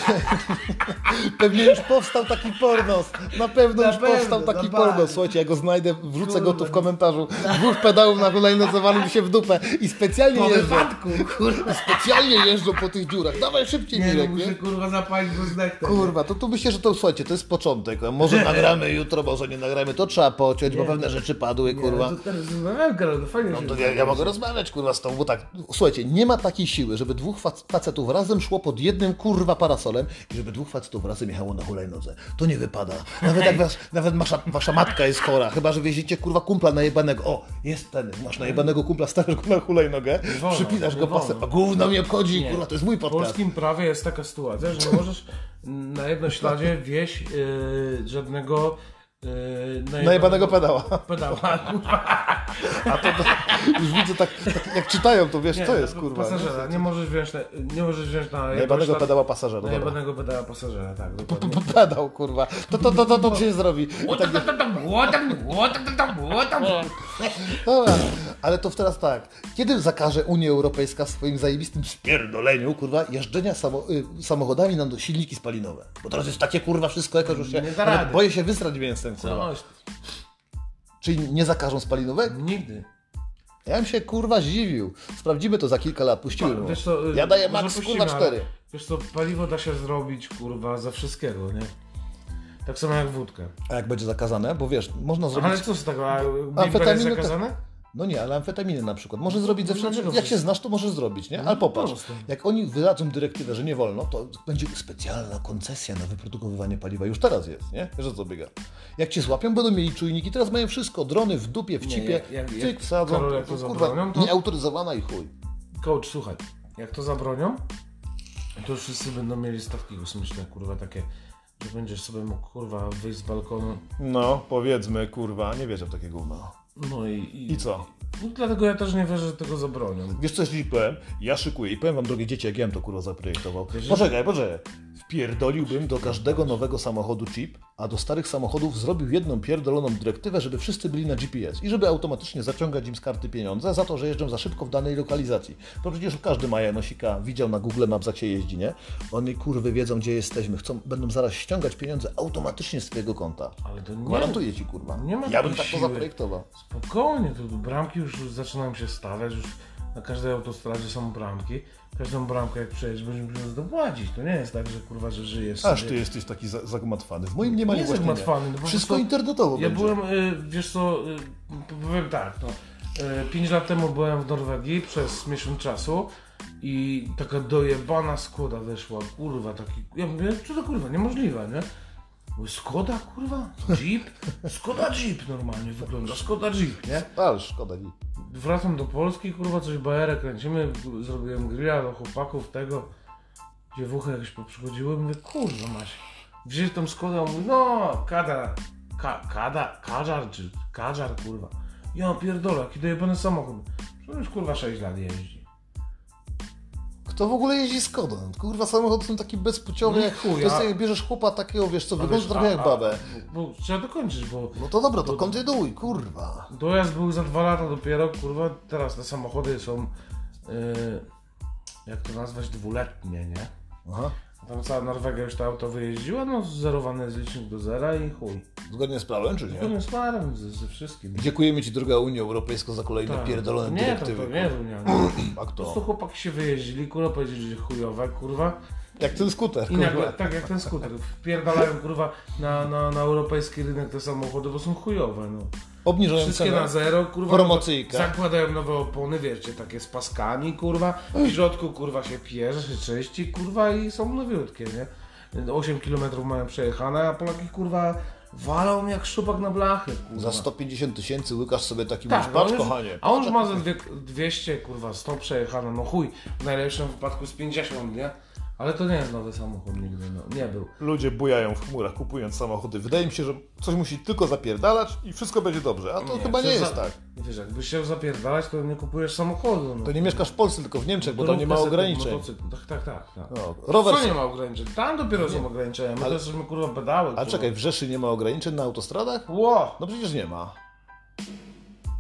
Speaker 1: <laughs> Pewnie już powstał taki pornos. Na pewno
Speaker 2: tak. Na
Speaker 1: już
Speaker 2: pewno,
Speaker 1: powstał taki
Speaker 2: na
Speaker 1: pornos.
Speaker 2: pewno.
Speaker 1: Słuchajcie, ja go znajdę, wrzucę go tu
Speaker 2: Kurwa.
Speaker 1: w komentarzu. Dwóch pedałów na hulajnodze zawalił się w dupę i specjalnie
Speaker 2: Po
Speaker 1: jeżdżą.
Speaker 2: wypadku,
Speaker 1: <laughs>
Speaker 2: kurwa.
Speaker 1: Specjalnie jeżdżą po tych dziurach. Dawaj szybciej,
Speaker 2: Nie, no,
Speaker 1: Mirek,
Speaker 2: muszę kurwa zapalić, bo zdechnę.
Speaker 1: Kurwa, to tu myślę, że to słuchajcie, to jest początek. początek. A może nagramy jutro, może nie nagramy, to trzeba pociąć, bo pewne rzeczy padły, kurwa.
Speaker 2: no To teraz rozmawiałem, Karol, no fajnie się
Speaker 1: To ja, ja mogę rozmawiać, kurwa, z tą, bo tak, słuchajcie, nie ma takiej siły, żeby dwóch fac- facetów razem szło pod jednym, kurwa, parasolem i żeby dwóch facetów razem jechało na hulajnodze. To nie wypada. Nawet jak was, nawet wasza, wasza matka jest chora, chyba, że wieziecie, kurwa, kumpla najebanego. O, jest ten, masz najebanego kumpla, stawiasz go na hulajnogę,
Speaker 2: wolno,
Speaker 1: przypinasz
Speaker 2: Mm. nie
Speaker 1: go pasem, a
Speaker 2: wolno.
Speaker 1: gówno mnie obchodzi, kurwa, to jest mój
Speaker 2: W
Speaker 1: podcast.
Speaker 2: polskim prawie jest taka sytuacja, że nie możesz na jednym śladzie wieść yy, żadnego yy, najebanego,
Speaker 1: Najebanego pedała. <laughs>
Speaker 2: pedała. kurwa.
Speaker 1: A to, to już widzę tak, tak, jak czytają, to wiesz, co jest,
Speaker 2: Nie, no
Speaker 1: kurwa.
Speaker 2: Pasażera, nie możesz wziąć na, nie możesz wziąć na
Speaker 1: Najebanego pedała pasażera,
Speaker 2: Na
Speaker 1: dobra.
Speaker 2: jebanego pedała pasażera, tak, dokładnie.
Speaker 1: Pedał, kurwa. To, to, to, to, to się zrobi. tak
Speaker 3: Łotam, łotam, łotam, łotam, łotam.
Speaker 1: Dobra, ale to teraz tak. Kiedy zakaże Unia Europejska w swoim zajebistym spierdoleniu, kurwa, jeżdżenia samo, y, samochodami na silniki spalinowe? Bo teraz jest takie, kurwa, wszystko jako, że już się
Speaker 2: Nie da
Speaker 1: nawet
Speaker 2: rady.
Speaker 1: boję się wysrać mięsem, kurwa.
Speaker 2: No,
Speaker 1: Czyli nie zakażą spalinowego?
Speaker 2: nigdy.
Speaker 1: Ja bym się, kurwa, zdziwił. Sprawdzimy to za kilka lat, puściłem.
Speaker 2: Wiesz co, y,
Speaker 1: Ja daję
Speaker 2: może
Speaker 1: max,
Speaker 2: puścimy,
Speaker 1: kurwa,
Speaker 2: ale
Speaker 1: cztery.
Speaker 2: Wiesz co, paliwo da się zrobić, kurwa, ze wszystkiego, nie? Tak samo jak wódkę.
Speaker 1: A jak będzie zakazane? Bo wiesz, można zrobić...
Speaker 2: Ale co z tego, a bimber
Speaker 1: Amfetaminy
Speaker 2: jest
Speaker 1: to-
Speaker 2: zakazane?
Speaker 1: No nie, ale amfetaminy na przykład. Może zrobić ze wszystkiego.
Speaker 2: No, dlaczego? No,
Speaker 1: Jak się znasz, to możesz zrobić, nie? Ale popatrz,
Speaker 2: proste.
Speaker 1: jak oni wydadzą dyrektywę, że nie wolno, to będzie specjalna koncesja na wyprodukowywanie paliwa. Już teraz jest, nie? Wiesz o co biega. Jak cię złapią, będą mieli czujniki. Teraz mają wszystko. Drony w dupie, w cipie,
Speaker 2: jak- jak-
Speaker 1: cyk,
Speaker 2: jak-
Speaker 1: wsadzą.
Speaker 2: Karol, jak to
Speaker 1: Kurwa,
Speaker 2: zabronią, to-
Speaker 1: nieautoryzowana i chuj.
Speaker 2: Coach, słuchaj, jak to zabronią, to już wszyscy będą mieli statki kosmiczne, kurwa, takie, że będziesz sobie mógł, kurwa, wyjść z balkonu,
Speaker 4: No, powiedzmy, kurwa, nie wierzę w takie gówno.
Speaker 2: no i... I,
Speaker 4: I co?
Speaker 2: No, dlatego ja też nie wierzę, że tego zabronią.
Speaker 4: Wiesz co, jeśli powiem? Ja szykuję i powiem wam, drogie dzieci, jak ja bym to kurwa zaprojektował. Poczekaj, poczekaj.
Speaker 1: Wpierdoliłbym do każdego nowego samochodu chip, a do starych samochodów zrobił jedną pierdoloną dyrektywę, żeby wszyscy byli na GPS i żeby automatycznie zaciągać im z karty pieniądze za to, że jeżdżą za szybko w danej lokalizacji. Bo przecież każdy ma Janosika, widział na Google Maps, jak się jeździ, nie? Oni kurwy wiedzą, gdzie jesteśmy, chcą, będą zaraz ściągać pieniądze automatycznie z twojego konta.
Speaker 2: Ale to nie...
Speaker 1: Gwarantuję ci, kurwa.
Speaker 2: Nie ma
Speaker 1: ja bym
Speaker 2: takiej
Speaker 1: tak to
Speaker 2: siły.
Speaker 1: zaprojektował.
Speaker 2: Spokojnie, tu bramki już zaczynają się stawiać, już na każdej autostradzie są bramki. Każdą bramkę jak przejedziesz, będziesz musiał dopłacić. To nie jest tak, że kurwa, że żyjesz
Speaker 4: Aż ty
Speaker 2: sobie.
Speaker 4: jesteś taki za- zagmatwany. W
Speaker 1: W moim nie ma
Speaker 2: Nie jestem matwany, no po
Speaker 1: Wszystko
Speaker 2: prostu-
Speaker 1: internetowo
Speaker 2: Ja
Speaker 1: będzie.
Speaker 2: byłem, y, wiesz co, y, p- powiem tak, no, y, 5 lat temu byłem w Norwegii przez miesiąc czasu i taka dojebana Skoda wyszła, kurwa, taki, ja mówię, co to kurwa, niemożliwe, nie? Mówię, Skoda, kurwa? Jeep? Skoda Jeep normalnie wygląda, Skoda Jeep, nie?
Speaker 1: Ale szkoda mi.
Speaker 2: Wracam do Polski, kurwa, coś bajerę kręcimy, zrobiłem grilla do chłopaków, tego. Dziewuchy jakieś poprzychodziły, mówię, kurwa maś. Wzięli tą skodę, mówi, no, kada, ka, kada, kadżar, czy kadżar, kurwa. Ja pierdolę, kiedy jebany samochód. Przecież kurwa 6 lat jeździ.
Speaker 1: Kto w ogóle jeździ Skodą? Kurwa, samochód są taki bezpłciowy.
Speaker 2: No i
Speaker 1: jak
Speaker 2: chuj,
Speaker 1: to jest
Speaker 2: a-
Speaker 1: tak, jak bierzesz chłopa takiego, wiesz co,
Speaker 2: A
Speaker 1: wygląda
Speaker 2: wiesz,
Speaker 1: No trochę
Speaker 2: a-
Speaker 1: jak
Speaker 2: a-
Speaker 1: babę.
Speaker 2: Bo, bo trzeba dokończyć, bo
Speaker 1: No to dobra, to kontynuuj, kurwa.
Speaker 2: dojazd był za 2 lata dopiero, kurwa, teraz te samochody są, yy, jak to nazwać, dwuletnie, nie?
Speaker 1: Aha.
Speaker 2: Tam cała Norwegia już to auto wyjeździła, no zerowane z licznik do zera i chuj.
Speaker 1: Zgodnie z prawem, czy nie?
Speaker 2: Zgodnie z parem, ze, ze wszystkim.
Speaker 1: Dziękujemy Ci, droga Unia Europejska, za kolejne
Speaker 2: Tak.
Speaker 1: pierdolone
Speaker 2: Nie, to,
Speaker 1: dyrektywy.
Speaker 2: to nie,
Speaker 1: kurwa. Tak
Speaker 2: to nie. nie.
Speaker 1: A
Speaker 2: Po prostu
Speaker 1: kto?
Speaker 2: chłopaki się wyjeździli, kurwa, powiedzieli, że chujowe, kurwa.
Speaker 1: Jak ten skuter,
Speaker 2: I nagle,
Speaker 1: kurwa.
Speaker 2: tak jak ten skuter, wpierdalają, kurwa, na, na, na europejski rynek te samochody, bo są chujowe, no.
Speaker 1: Obniżają
Speaker 2: Wszystkie na
Speaker 1: cenę.
Speaker 2: zero, kurwa.
Speaker 1: Promocyjka.
Speaker 2: Zakładają nowe opony, wiecie, takie z paskami, kurwa. W środku, kurwa, się pierze, się czyści, kurwa i są nowiutkie, nie? 8 km mają przejechane, a Polaki, kurwa, walą jak szupak na blachy, kurwa.
Speaker 1: Za 150 tysięcy łykasz sobie taki
Speaker 2: Tak,
Speaker 1: tak,
Speaker 2: no
Speaker 1: patrz
Speaker 2: już-
Speaker 1: kochanie.
Speaker 2: A on już ma ze dwie- 200, kurwa, 100 przejechane, no chuj. W najlepszym wypadku z 50, nie? Ale to nie jest nowy samochód nigdy, no. Nie był.
Speaker 4: Ludzie bujają w chmurach, kupując samochody. Wydaje mi się, że coś musi tylko zapierdalać i wszystko będzie dobrze. A to chyba nie
Speaker 2: przecież
Speaker 4: jest
Speaker 2: za-
Speaker 4: tak.
Speaker 2: Wiesz, jakbyś chciał zapierdalać, to nie kupujesz samochodu, no.
Speaker 1: To nie mieszkasz w Polsce, tylko w Niechczech, bo tam nie ma
Speaker 2: Rówkę sobie
Speaker 1: ograniczeń.
Speaker 2: motocykl. Tak, tak, tak. tak.
Speaker 1: No, rower
Speaker 2: Co nie ma ograniczeń? Tam dopiero są ograniczenia. My
Speaker 1: Ale-
Speaker 2: to jesteśmy kurwa pedały.
Speaker 1: A
Speaker 2: kurwa.
Speaker 1: czekaj, w Rzeszy nie ma ograniczeń na autostradach?
Speaker 2: Ło!
Speaker 1: No przecież nie ma.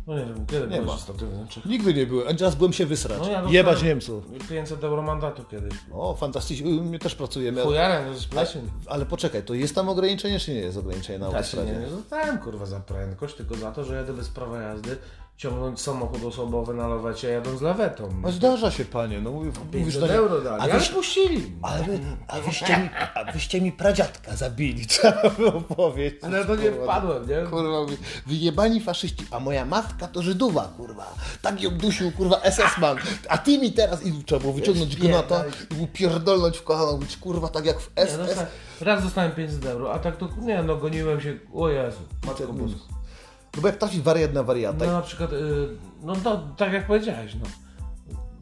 Speaker 2: No nie wiem, kiedy
Speaker 1: Nie
Speaker 2: byłeś
Speaker 1: ma.
Speaker 2: ostatnio w Niemczech?
Speaker 1: Nigdy nie byłem, a teraz byłem się wysrać.
Speaker 2: No, ja dostałem-
Speaker 1: Jebać Niemców.
Speaker 2: 500 euro mandatu kiedyś.
Speaker 1: O, fantastycznie, my też pracujemy.
Speaker 2: Chujarem, no, że spleśń.
Speaker 1: Ale poczekaj, to jest tam
Speaker 2: Tak,
Speaker 1: ograniczenie, czy nie jest ograniczenie na
Speaker 2: Ja się
Speaker 1: autostradzie?
Speaker 2: nie zostałem kurwa za prędkość, tylko za to, że jadę bez prawa jazdy ciągnąć samochód osobowy na lawecie jadąc lawetą.
Speaker 4: No zdarza się, panie, no mówię, mówisz
Speaker 2: 500
Speaker 4: do niej,
Speaker 2: euro dali,
Speaker 1: a
Speaker 2: ale
Speaker 1: wiesz-
Speaker 2: puścili.
Speaker 1: Ale wy, a wyście mi, a wyście mi pradziadka zabili, <laughs> trzeba by opowiedzieć.
Speaker 2: Ale to nie wpadłem, nie?
Speaker 1: Kurwa, wy- wyjebani faszyści, a moja matka to Żydowa, kurwa. Tak ją dusił, kurwa, SS-man. A ty mi teraz, i trzeba było wyciągnąć gnata i mu pierdolnąć w kolano, być kurwa, tak jak w
Speaker 2: Ja
Speaker 1: SS.
Speaker 2: dostałem, raz dostałem 500 euro, a tak to nie no, goniłem się, o Jezu, matko boska.
Speaker 1: No bo jak trafisz wariat na wariata,
Speaker 2: No na przykład, y, no to, tak jak powiedziałeś, no.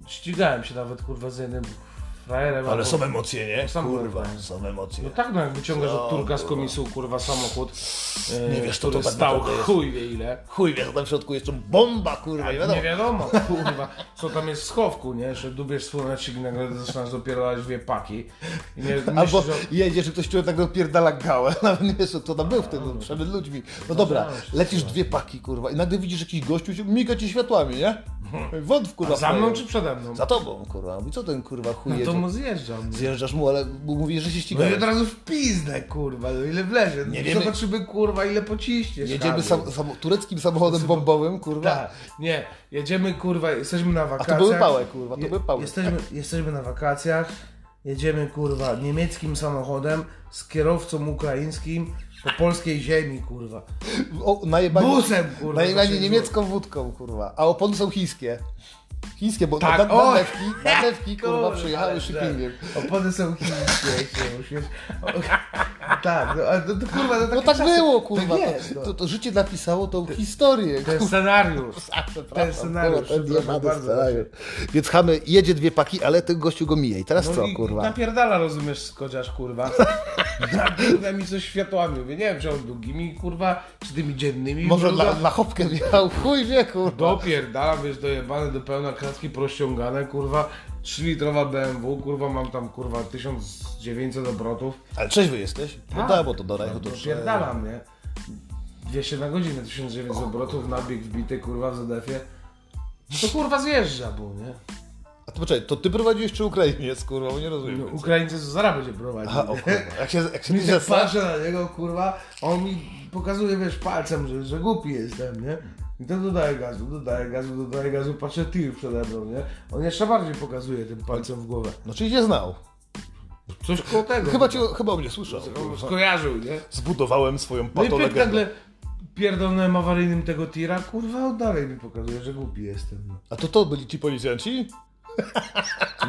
Speaker 2: Ścigałem się nawet kurwa z jednym frajerem.
Speaker 1: Ale
Speaker 2: albo-
Speaker 1: są emocje, nie?
Speaker 2: Są
Speaker 1: Kurwa,
Speaker 2: emocje.
Speaker 1: są emocje.
Speaker 2: No tak, no jak wyciągasz od turka z komisu kurwa samochód, y,
Speaker 1: Nie wiesz, co to
Speaker 2: który
Speaker 1: tak
Speaker 2: stał
Speaker 1: naprawdę jest.
Speaker 2: chuj wie ile.
Speaker 1: Chuj wie, co tam w środku jest, to bomba, kurwa, nie wiadomo.
Speaker 2: Nie wiadomo, kurwa, co tam jest w schowku, nie? Że dubiesz słonecznik i nagle zaczynasz dopierdalać dwie paki. I nie,
Speaker 1: Albo
Speaker 2: myślisz, że-
Speaker 1: jedziesz i ktoś czuje tak dopierdala gałę, <laughs> nawet nie wiesz, co tam był w tym, no, przed ludźmi. No dobra, lecisz dwie paki, kurwa, i nagle widzisz jakiś gościu, się miga ci światłami, nie? Wąt, kurwa.
Speaker 2: Mhm. A za mną
Speaker 1: frajer.
Speaker 2: czy przede mną?
Speaker 1: Za tobą, kurwa. I co ten, kurwa, chuj
Speaker 2: No
Speaker 1: jedzie?
Speaker 2: to mu zjeżdżam.
Speaker 1: Zjeżdżasz mu, ale mu mówisz, że się
Speaker 2: No i
Speaker 1: ścigają.
Speaker 2: od razu w pizdę, kurwa, no ile wlezie.
Speaker 1: Nie wiemy-
Speaker 2: Zobaczymy, kurwa, ile pociśniesz.
Speaker 1: Jedziemy
Speaker 2: Kamil.
Speaker 1: sam, sam, tureckim samochodem bombowym, kurwa.
Speaker 2: Tak, nie, jedziemy, kurwa, jesteśmy na wakacjach.
Speaker 1: były pałe, kurwa, to
Speaker 2: Je-
Speaker 1: były pałe.
Speaker 2: Jesteśmy, jesteśmy na wakacjach, jedziemy, kurwa, niemieckim samochodem z kierowcą ukraińskim po polskiej ziemi, kurwa.
Speaker 1: O, najebani,
Speaker 2: Busem, kurwa,
Speaker 1: Najebani
Speaker 2: zaczęli
Speaker 1: niemiecką wódką, kurwa. A opony są chińskie. Chińskie, bo
Speaker 2: Tak,
Speaker 1: na, na,
Speaker 2: o!
Speaker 1: newki,
Speaker 2: <laughs>
Speaker 1: na newki, kurwa, przyjechały
Speaker 2: ale- tak.
Speaker 1: shippingiem.
Speaker 2: Opony są chińskie, się musisz... O, <laughs> tak, no, ale to, to kurwa, to takie
Speaker 1: No tak
Speaker 2: czasy.
Speaker 1: było, kurwa.
Speaker 2: Tak jest,
Speaker 1: to,
Speaker 2: no.
Speaker 1: to, to życie napisało tą historię.
Speaker 2: Ten
Speaker 1: <laughs>
Speaker 2: scenariusz. Ten scenariusz,
Speaker 1: Kurwa, ten
Speaker 2: przepraszam
Speaker 1: jebany
Speaker 2: bardzo.
Speaker 1: scenariusz. Więc Hamy jedzie dwie paki, ale ten gościu go mija. I teraz co,
Speaker 2: No i tak-
Speaker 1: kurwa?
Speaker 2: Napierdala, rozumiesz, kodziarz,
Speaker 1: <laughs>
Speaker 2: kurwa. Napierdala mi coś światłami. Mówię, nie wiem, czy on długimi, kurwa, czy tymi dziennymi.
Speaker 1: Może
Speaker 2: kurwa.
Speaker 1: na, na chopkę wjechał, chuj wie, kurwa.
Speaker 2: Dopierdala, wiesz, dojebane do pełna kratki prościągane, kurwa. 3-litrowa BMW, kurwa, mam tam, kurwa, 1900 obrotów.
Speaker 1: Ale trzeźwy jesteś?
Speaker 2: Tak.
Speaker 1: No da, bo to do rajchu to
Speaker 2: Dopierdalam, nie? 200 na godzinę, 1900 obrotów, nabieg wbity, kurwa, w ZDF-ie. No To kurwa zjeżdża był, nie?
Speaker 1: A to poczekaj, to ty prowadziłeś czy Ukrainiec, kurwa, bo nie rozumiem.
Speaker 2: No, Ukraińcy z Zara będzie prowadził.
Speaker 1: Aha, o kurwa. Jak się, jak się
Speaker 2: Mi tak
Speaker 1: zesa-
Speaker 2: patrzę na niego, kurwa, a on mi pokazuje, wiesz, palcem, że, że głupi jestem, nie? I to dodaje gazu, dodaje gazu, dodaje gazu, patrzę tir przede mną, nie? On jeszcze bardziej pokazuje tym palcem w głowę.
Speaker 1: No czyli cię znał.
Speaker 2: Coś koło tego.
Speaker 1: Chyba, cię, chyba o mnie słyszał.
Speaker 2: On Skojarzył, nie?
Speaker 4: zbudowałem swoją
Speaker 2: No i pyk
Speaker 4: patolegendę.
Speaker 2: nagle pierdolnąłem awaryjnym tego tira, kurwa, on dalej mi pokazuje, że głupi jestem. No.
Speaker 1: A to to byli ci policjanci?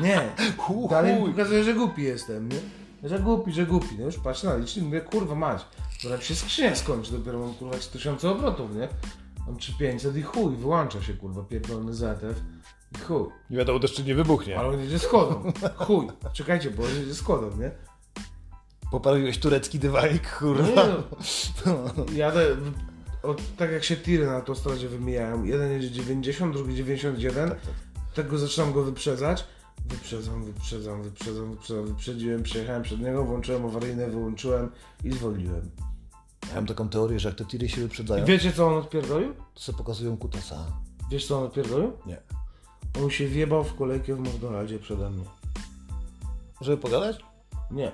Speaker 2: Nie,
Speaker 1: Hu,
Speaker 2: dalej mi
Speaker 1: chuj.
Speaker 2: pokazuje, że głupi jestem, nie? Że głupi, że głupi, no już patrz na licznik, mówię, kurwa mać, zaraz się skrzynia skończy, dopiero mam kurwa 3000 obrotów, nie? Mam 3500 i chuj, wyłącza się kurwa, pierdolony ZF i chuj,
Speaker 4: Nie wiadomo też, czy nie wybuchnie.
Speaker 2: ale on jedzie schodą, chuj, czekajcie, bo on jedzie schodą, nie?
Speaker 1: Poprawiłeś turecki dywanik,
Speaker 2: No nie
Speaker 1: kurwa.
Speaker 2: no, jadę, w- o, tak jak się tiry na autostradzie wymijają, jeden jedzie 90, drugi 91, tego zaczynam go wyprzedzać, wyprzedzam, wyprzedzam, wyprzedzam, wyprzedzam, wyprzedziłem, przejechałem przed niego, włączyłem awaryjne, wyłączyłem i zwolniłem.
Speaker 1: <laughs> Ja mam taką teorię, że jak te tiry się
Speaker 2: I
Speaker 1: wyprzedzają,
Speaker 2: wiecie co on odpierdolił?
Speaker 1: to sobie pokazują kutasa.
Speaker 2: Wiesz co on odpierdolił?
Speaker 1: Nie.
Speaker 2: On się wjebał w kolejkę w McDonaldzie przede mną.
Speaker 1: Żeby pogadać?
Speaker 2: Nie.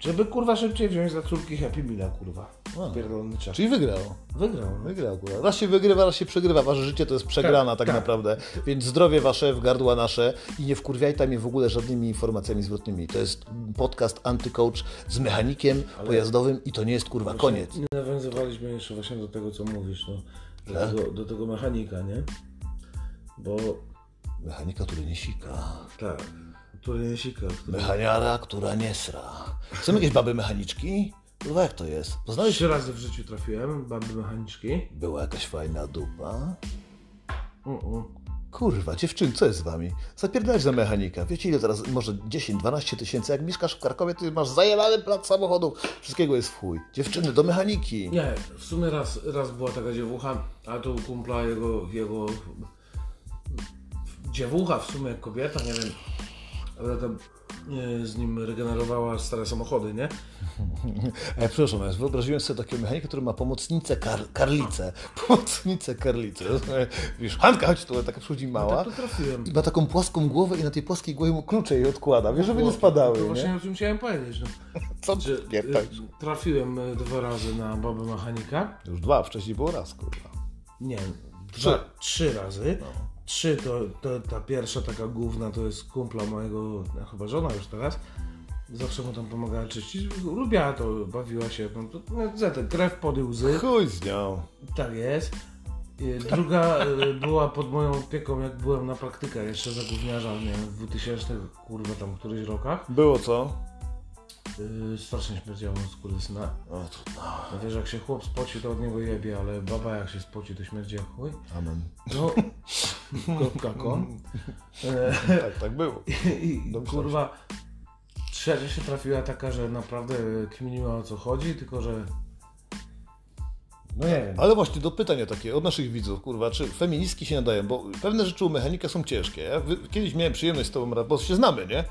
Speaker 2: Żeby kurwa szybciej wziąć za córki Happy Meala, kurwa.
Speaker 1: A.
Speaker 2: Pierdolony czas.
Speaker 1: Czyli wygrał.
Speaker 2: Wygrał. no.
Speaker 1: Wygrał, kurwa. Raz się wygrywa, raz się przegrywa. Wasze życie to jest przegrana tak,
Speaker 2: tak.
Speaker 1: naprawdę. Więc zdrowie wasze w gardła nasze i nie wkurwiajcie mnie w ogóle żadnymi informacjami zwrotnymi. To jest podcast antycoach z mechanikiem pojazdowym i to nie jest kurwa koniec.
Speaker 2: Nie nawiązywaliśmy jeszcze właśnie do tego, co mówisz, no. Do,
Speaker 1: Tak?
Speaker 2: tego, do tego mechanika, nie? Bo
Speaker 1: Mechanika, który nie sika.
Speaker 2: tak, który nie sika, który...
Speaker 1: Mechaniara, która nie sra. Są jakieś baby mechaniczki? Kurwa, jak to jest? Poznałeś?
Speaker 2: Trzy razy w życiu trafiłem, baby mechaniczki.
Speaker 1: Była jakaś fajna dupa?
Speaker 2: Uh-uh.
Speaker 1: Kurwa, dziewczyn, co jest z wami? Zapierdalać za mechanika. Wiecie ile teraz, może 10-12 tysięcy, jak mieszkasz w Krakowie, ty masz zajelany plac samochodów. Wszystkiego jest w chuj. Dziewczyny, do mechaniki.
Speaker 2: Nie, w sumie raz, raz była taka dziewucha, a to u kumpla jego, jego... Dziewucha w sumie, kobieta, nie wiem, ale tam e, z nim regenerowała stare samochody, nie?
Speaker 1: E, przepraszam, ja wyobraziłem sobie takiego mechanika, który ma pomocnicę kar- karlicę. <laughs> Pomocnicę karlicę. Wiesz, Hanka, chodź tu, taka przychodzi mała.
Speaker 2: Tak to trafiłem.
Speaker 1: I ma taką płaską głowę i na tej płaskiej głowie mu klucze jej odkłada, wiesz, żeby nie spadały,
Speaker 2: To
Speaker 1: nie?
Speaker 2: właśnie o czym chciałem powiedzieć, no.
Speaker 1: Co ty
Speaker 2: Że,
Speaker 1: tak.
Speaker 2: e,
Speaker 1: pierdolisz?
Speaker 2: trafiłem e, dwa razy na babę mechanika.
Speaker 1: Już dwa, wcześniej było raz, kurwa.
Speaker 2: Nie, dwa, trzy razy. Trzy to, to ta pierwsza taka główna to jest kumpla mojego, no, chyba żona już teraz. Zawsze mu tam pomagała czyścić. Lubiła to, bawiła się. No, to, no, za te krew pod i łzy.
Speaker 1: Chuj z nią.
Speaker 2: Tak jest. Y, Druga y, była pod moją opieką, jak byłem na praktykę jeszcze za gówniarza, nie wiem, w 2000, kurwa, tam któryś rokach.
Speaker 1: Było co?
Speaker 2: Yy, strasznie śmierdziało z kury syna.
Speaker 1: O, to...
Speaker 2: No wiesz, jak się chłop spoci, to od niego jebie, ale baba jak się spoci, to śmierdzi jak chuj.
Speaker 1: Amen. <laughs>
Speaker 2: No, kropka kon.
Speaker 1: Tak, tak było.
Speaker 2: I
Speaker 1: Dobrze,
Speaker 2: kurwa, trzecia się trafiła taka, że naprawdę kminiła o co chodzi, tylko że... No nie wiem.
Speaker 1: Ale właśnie do pytania takie od naszych widzów, kurwa, czy feministki się nadają, bo pewne rzeczy u mechanika są ciężkie. Ja wy, kiedyś miałem przyjemność z tobą, ra- bo się znamy, nie?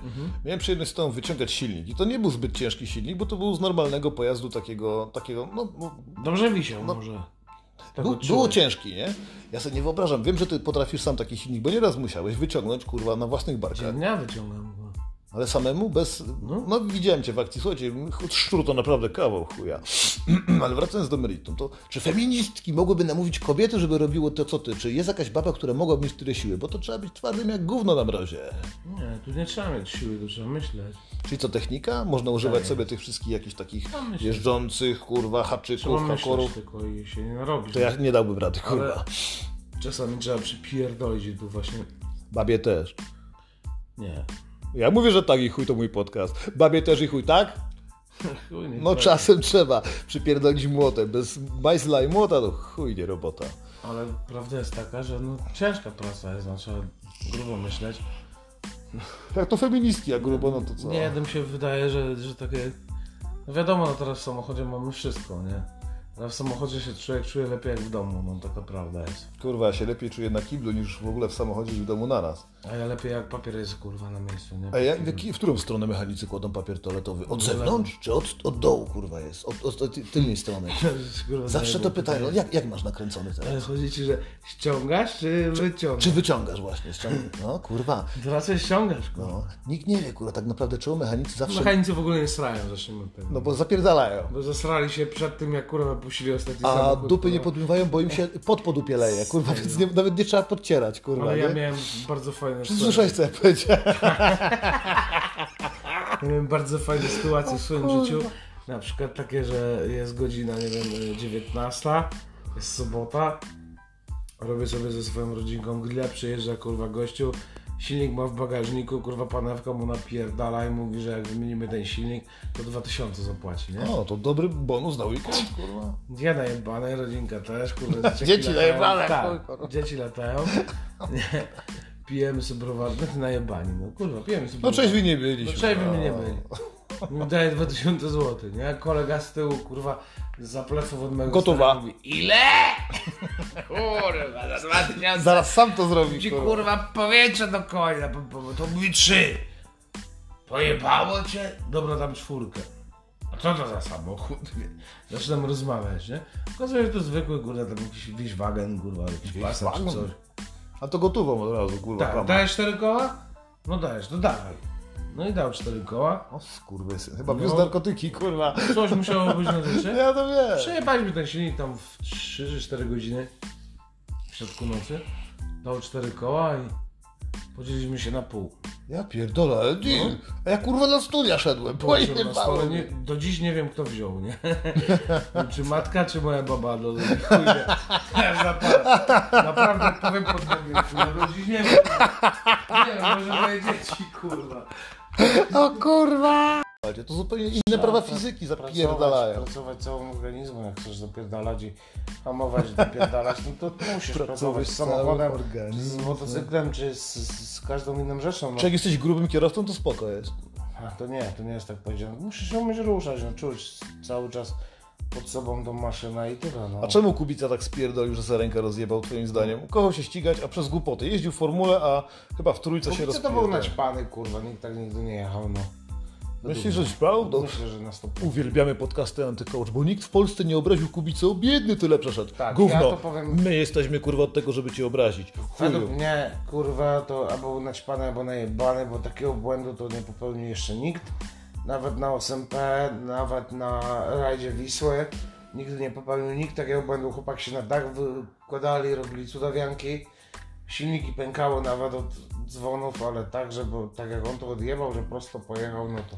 Speaker 1: Miałem przyjemność z tobą wyciągać silnik i to nie był zbyt ciężki silnik, bo to był z normalnego pojazdu takiego, takiego, no, no
Speaker 2: Dobrze wisiał może. Tak
Speaker 1: Był,
Speaker 2: odczułem.
Speaker 1: było ciężki, nie? Ja sobie nie wyobrażam. Wiem, że ty potrafisz sam taki silnik, bo nieraz musiałeś wyciągnąć, kurwa, na własnych barkach.
Speaker 2: Dnia wyciągnąłem go.
Speaker 1: Ale samemu, bez... No, widziałem cię w akcji. Słuchajcie, ch- szczur to naprawdę kawał chuja. <clears throat> Ale wracając do meritum, to czy feministki mogłyby namówić kobiety, żeby robiły to, co ty? Czy jest jakaś baba, która mogłaby mieć tyle siły? Bo to trzeba być twardym jak gówno na mrozie.
Speaker 2: Nie, tu nie trzeba mieć siły, tu trzeba myśleć.
Speaker 1: Czyli co, technika? Można używać sobie tych wszystkich jakichś takich
Speaker 2: No, myślę, że-
Speaker 1: jeżdżących, kurwa,
Speaker 2: Trzeba
Speaker 1: haczyków,
Speaker 2: myśleć
Speaker 1: hakorów.
Speaker 2: tylko i się nie narobić.
Speaker 1: To ja nie dałbym rady, kurwa.
Speaker 2: Ale- Czasami trzeba przypierdolić i tu właśnie...
Speaker 1: Babie też.
Speaker 2: Nie.
Speaker 1: Ja mówię, że tak i chuj to mój podcast. Babie też i chuj, tak?
Speaker 2: Chuj, nie
Speaker 1: No
Speaker 2: tak.
Speaker 1: czasem trzeba przypierdolić młotem. Bez bajzla i młota to chuj nie robota.
Speaker 2: Ale prawda jest taka, że no, ciężka praca jest, no, trzeba grubo myśleć.
Speaker 1: Jak Tak, to feministki, jak grubo, no to co?
Speaker 2: Nie jednym się wydaje, że, że takie... No wiadomo, no teraz w samochodzie mamy wszystko, nie? Ale w samochodzie się człowiek czuje lepiej jak w domu, no taka prawda jest.
Speaker 1: Kurwa, ja się lepiej czuję na kiblu niż w ogóle w samochodzie i w domu naraz.
Speaker 2: A ja lepiej jak papier jest kurwa na miejscu, nie?
Speaker 1: A
Speaker 2: <laughs>
Speaker 1: ja, w, jaki, w którą stronę mechanicy kładą papier toaletowy? Od zewnątrz czy od, od dołu, kurwa, jest? Od, od, od tylnej
Speaker 2: <laughs>
Speaker 1: strony.
Speaker 2: Kurwa,
Speaker 1: Zawsze to
Speaker 2: zajebło
Speaker 1: pytają, no jak, jak masz nakręcony
Speaker 2: Ale
Speaker 1: teraz?
Speaker 2: chodzi ci, że ściągasz czy wyciągasz?
Speaker 1: Czy wyciągasz właśnie? Ściąg- no kurwa,
Speaker 2: Raczej ściągasz, kurwa.
Speaker 1: no. Nikt nie wie, kurwa, tak naprawdę czemu mechanicy zawsze...
Speaker 2: Mechanicy w ogóle nie srają, zacznijmy od tego.
Speaker 1: No bo zapierdalają.
Speaker 2: Bo zasrali się przed tym, jak kurwa puścili ostatni
Speaker 1: A
Speaker 2: samochód, no.
Speaker 1: dupy nie
Speaker 2: kurwa. No.
Speaker 1: podmywają, bo im się pod podupieleje, kurwa, więc nie, nawet nie trzeba podcierać, kurwa,
Speaker 2: Ale ja
Speaker 1: nie?
Speaker 2: miałem bardzo fajne
Speaker 1: Słyszałeś, co ja powiedziałem?
Speaker 2: Ja miałem bardzo fajne sytuacje w swoim życiu. Na przykład takie, że jest godzina, nie wiem, 19, jest sobota. Robię sobie ze swoją rodzinką grilla, przyjeżdża kurwa gościu. Silnik ma w bagażniku, kurwa panewka mu napierdala i mówi, że jak wymienimy ten silnik, to 2000 zapłaci, nie?
Speaker 1: No, to dobry bonus na weekend, kurwa.
Speaker 2: Ja najebane, rodzinka też, kurde.
Speaker 1: <laughs> Dzieci
Speaker 2: latają.
Speaker 1: najebane,
Speaker 2: tak, Dzieci latają. <laughs> Nie. Pijemy sobie browar, no to najebani, no kurwa, pijemy sobie
Speaker 1: No
Speaker 2: browar.
Speaker 1: trzeźwi nie
Speaker 2: No
Speaker 1: byliśmy.
Speaker 2: trzeźwi
Speaker 1: no.
Speaker 2: mi nie byli. Mi daje 2000 zł, nie? Kolega z tyłu, kurwa, za pleców od mojego
Speaker 1: Gotowa.
Speaker 2: stary mówi, <laughs>
Speaker 5: Ile? Kurwa, za dwa tysiące.
Speaker 1: Zaraz sam to
Speaker 5: Ci
Speaker 1: zrobi, kurwa.
Speaker 5: kurwa powietrze do konia, bo- bo- bo to mówi trzy. Pojebało cię?
Speaker 2: Dobra, dam czwórkę. A co to za samochód? <laughs> Nie. Zaczynam rozmawiać, nie? Okazuje się, że to zwykły, kurwa, tam jakiś Wieswagen, kurwa, jakiś pasa czy
Speaker 1: Wieswagen?
Speaker 2: coś.
Speaker 1: A to gotową od razu, kurwa.
Speaker 2: Tak,
Speaker 1: kama.
Speaker 2: dajesz cztery koła? No dajesz, no dawaj. No i dał cztery koła.
Speaker 1: O skurwysyn, chyba
Speaker 2: No.
Speaker 1: wiózł narkotyki, kurwa.
Speaker 2: Coś musiało być na rzeczy.
Speaker 1: Ja to wiem.
Speaker 2: Przejebaliśmy ten silnik tam w 3 czy 4 godziny w środku nocy. Dał cztery koła i podzieliliśmy się na pół.
Speaker 1: Ja pierdolę, ale deal. A ja kurwa na studia szedłem, bo
Speaker 2: Położyłem No. na stole, nie, do dziś nie wiem kto wziął, nie? czy matka, czy moja baba, no no, chuj wie. Zapal- Naprawdę powiem pod nogi, no, do dziś nie wiem. Nie wiem, może moje dzieci, kurwa.
Speaker 1: O No, kurwa. Słuchajcie, To zupełnie inne prawa fizyki zapierdalają.
Speaker 2: tak Pracować, pracować całym organizmem, jak chcesz zapierdalać i hamować, zapierdalać, no to musisz
Speaker 1: Pracować
Speaker 2: pracować z
Speaker 1: całym
Speaker 2: samochodem,
Speaker 1: organizmem.
Speaker 2: czy z motocyklem, czy z, z, z każdą inną rzeczą.
Speaker 1: Czy
Speaker 2: No.
Speaker 1: jak jesteś grubym kierowcą, to spoko jest.
Speaker 2: A, to nie, to nie jest tak powiedziane. Musisz się umieć ruszać, no, czuć cały czas pod sobą tą maszynę i tyle. No.
Speaker 1: A czemu Kubica tak spierdolił, że za rękę rozjebał twoim zdaniem? Kochał się ścigać, a przez głupoty. Jeździł w formule, a chyba w trójce się
Speaker 2: Kubica to
Speaker 1: rozpierdolił.
Speaker 2: był naćpany, kurwa, nikt tak nigdy nie jechał, no.
Speaker 1: Myślisz, że prawdą?
Speaker 2: Myślę, że na 100%.
Speaker 1: Uwielbiamy podcasty Antycoach, bo nikt w Polsce nie obraził Kubicy, o biedny tyle przeszedł.
Speaker 2: Tak,
Speaker 1: Gówno,
Speaker 2: ja to powiem-
Speaker 1: my jesteśmy kurwa od tego, żeby cię obrazić.
Speaker 2: Według
Speaker 1: Chuju.
Speaker 2: mnie, kurwa, to albo naćpane, albo najebane, bo takiego błędu to nie popełnił jeszcze nikt. Nawet na OSMP, nawet na rajdzie Wisły, Nigdy nie popełnił nikt takiego błędu. Chłopak się na dach wykładali, robili cudawianki. Silniki pękały nawet od dzwonów, ale tak, że bo, tak jak on to odjebał, że prosto pojechał, no to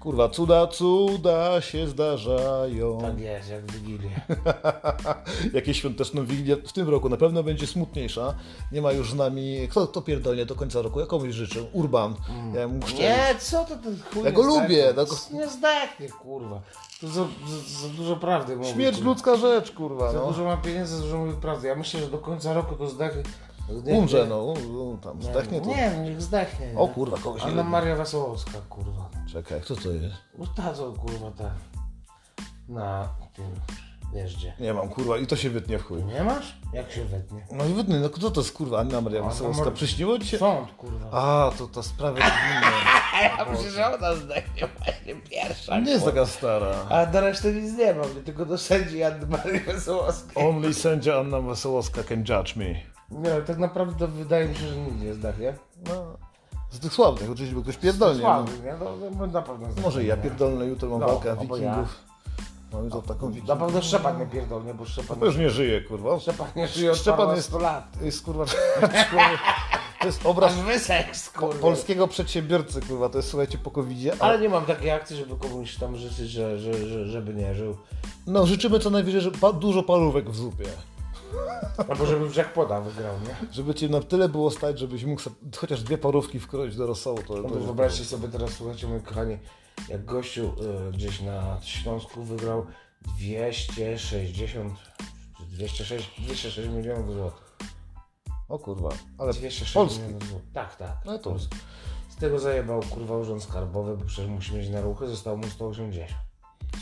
Speaker 1: Kurwa, cuda, cuda się zdarzają.
Speaker 2: tak jest, jak w Wigilię.
Speaker 1: <laughs> Jakieś świąteczną wigilię w tym roku na pewno będzie smutniejsza. Nie ma już z nami. Kto to pierdolnie do końca roku? Ja komuś życzę. Urban.
Speaker 2: Mm.
Speaker 1: Ja mu szczerze.
Speaker 2: Nie, co to ten chuj
Speaker 1: Ja go
Speaker 2: nie zdechnie.
Speaker 1: lubię, tak-
Speaker 2: Nie zdechnie, kurwa. To za, za, za dużo prawdy mówi.
Speaker 1: Śmierć
Speaker 2: kurwa.
Speaker 1: ludzka rzecz, kurwa.
Speaker 2: Za
Speaker 1: No.
Speaker 2: dużo ma pieniędzy, za dużo mówi prawdy. Ja myślę, że do końca roku to zdechnie.
Speaker 1: Umrze, no. u- u- Tam zdechnie to.
Speaker 2: Nie, no niech zdechnie.
Speaker 1: O kurwa, kogoś nie
Speaker 2: Anna
Speaker 1: lubię.
Speaker 2: Maria Wesołowska, kurwa.
Speaker 1: Czekaj, kto to jest?
Speaker 2: No ta co, kurwa, ta. Na tym jeździe.
Speaker 1: Nie mam, kurwa, i to się wytnie w chuj.
Speaker 2: Nie masz? Jak się wetnie?
Speaker 1: No i wytnie, no kto to jest, kurwa, Anna Maria
Speaker 2: Anna
Speaker 1: Wesołowska?
Speaker 2: Maria-
Speaker 1: Przyśniło ci się?
Speaker 2: Sąd, kurwa.
Speaker 1: A, to ta sprawa jest inna.
Speaker 2: Ja myślę, że ona zdechnie właśnie pierwsza.
Speaker 1: Nie jest taka stara.
Speaker 2: A do reszty nic nie mam, nie tylko do sędzi Anny Marii Wesołowskiej.
Speaker 1: Only sędzia Anna Wesołowska can judge me.
Speaker 2: Nie, ale tak naprawdę wydaje mi się, że nikt nie zdechnie.
Speaker 1: No, z tych sławnych, oczywiście, bo ktoś pierdolnie. No.
Speaker 2: Słaby, nie? No, no, na pewno zdechnie.
Speaker 1: Może i ja pierdolę, jutro mam
Speaker 2: No,
Speaker 1: walkę
Speaker 2: albo
Speaker 1: wikingów. Mam jutro taką
Speaker 2: Na
Speaker 1: wikingów.
Speaker 2: pewno Szczepan nie pierdolnie, bo Szczepan,
Speaker 1: To no, już nie żyje, kurwa.
Speaker 2: Szczepan nie żyje od
Speaker 1: Szczepan
Speaker 2: Szczepan
Speaker 1: jest-
Speaker 2: jest... lat.
Speaker 1: Jest, kurwa, <laughs> człowiek- to jest obraz <laughs>
Speaker 2: Aż wyseks, kurwa.
Speaker 1: polskiego przedsiębiorcy, kurwa. To jest, słuchajcie, po covidzie.
Speaker 2: Ale nie mam takiej akcji, żeby komuś tam życzyć, że, że, że, żeby nie żył.
Speaker 1: No, życzymy co najwyżej, że pa, dużo parówek w zupie.
Speaker 2: Albo żeby w jackpota wygrał, nie?
Speaker 1: Żeby cię na tyle było stać, żebyś mógł se, chociaż dwie parówki wkroić do rosołu. To,
Speaker 2: No
Speaker 1: to
Speaker 2: to wyobraźcie sobie teraz, słuchajcie moi kochani, jak gościu y, gdzieś na Śląsku wygrał 260, czy 206, 206 milionów złotych.
Speaker 1: O kurwa, ale
Speaker 2: 206
Speaker 1: Polski.
Speaker 2: milionów złotych. Tak, tak.
Speaker 1: No to
Speaker 2: Z tego zajebał kurwa urząd skarbowy, bo przecież musi mieć na ruchy, zostało mu 180.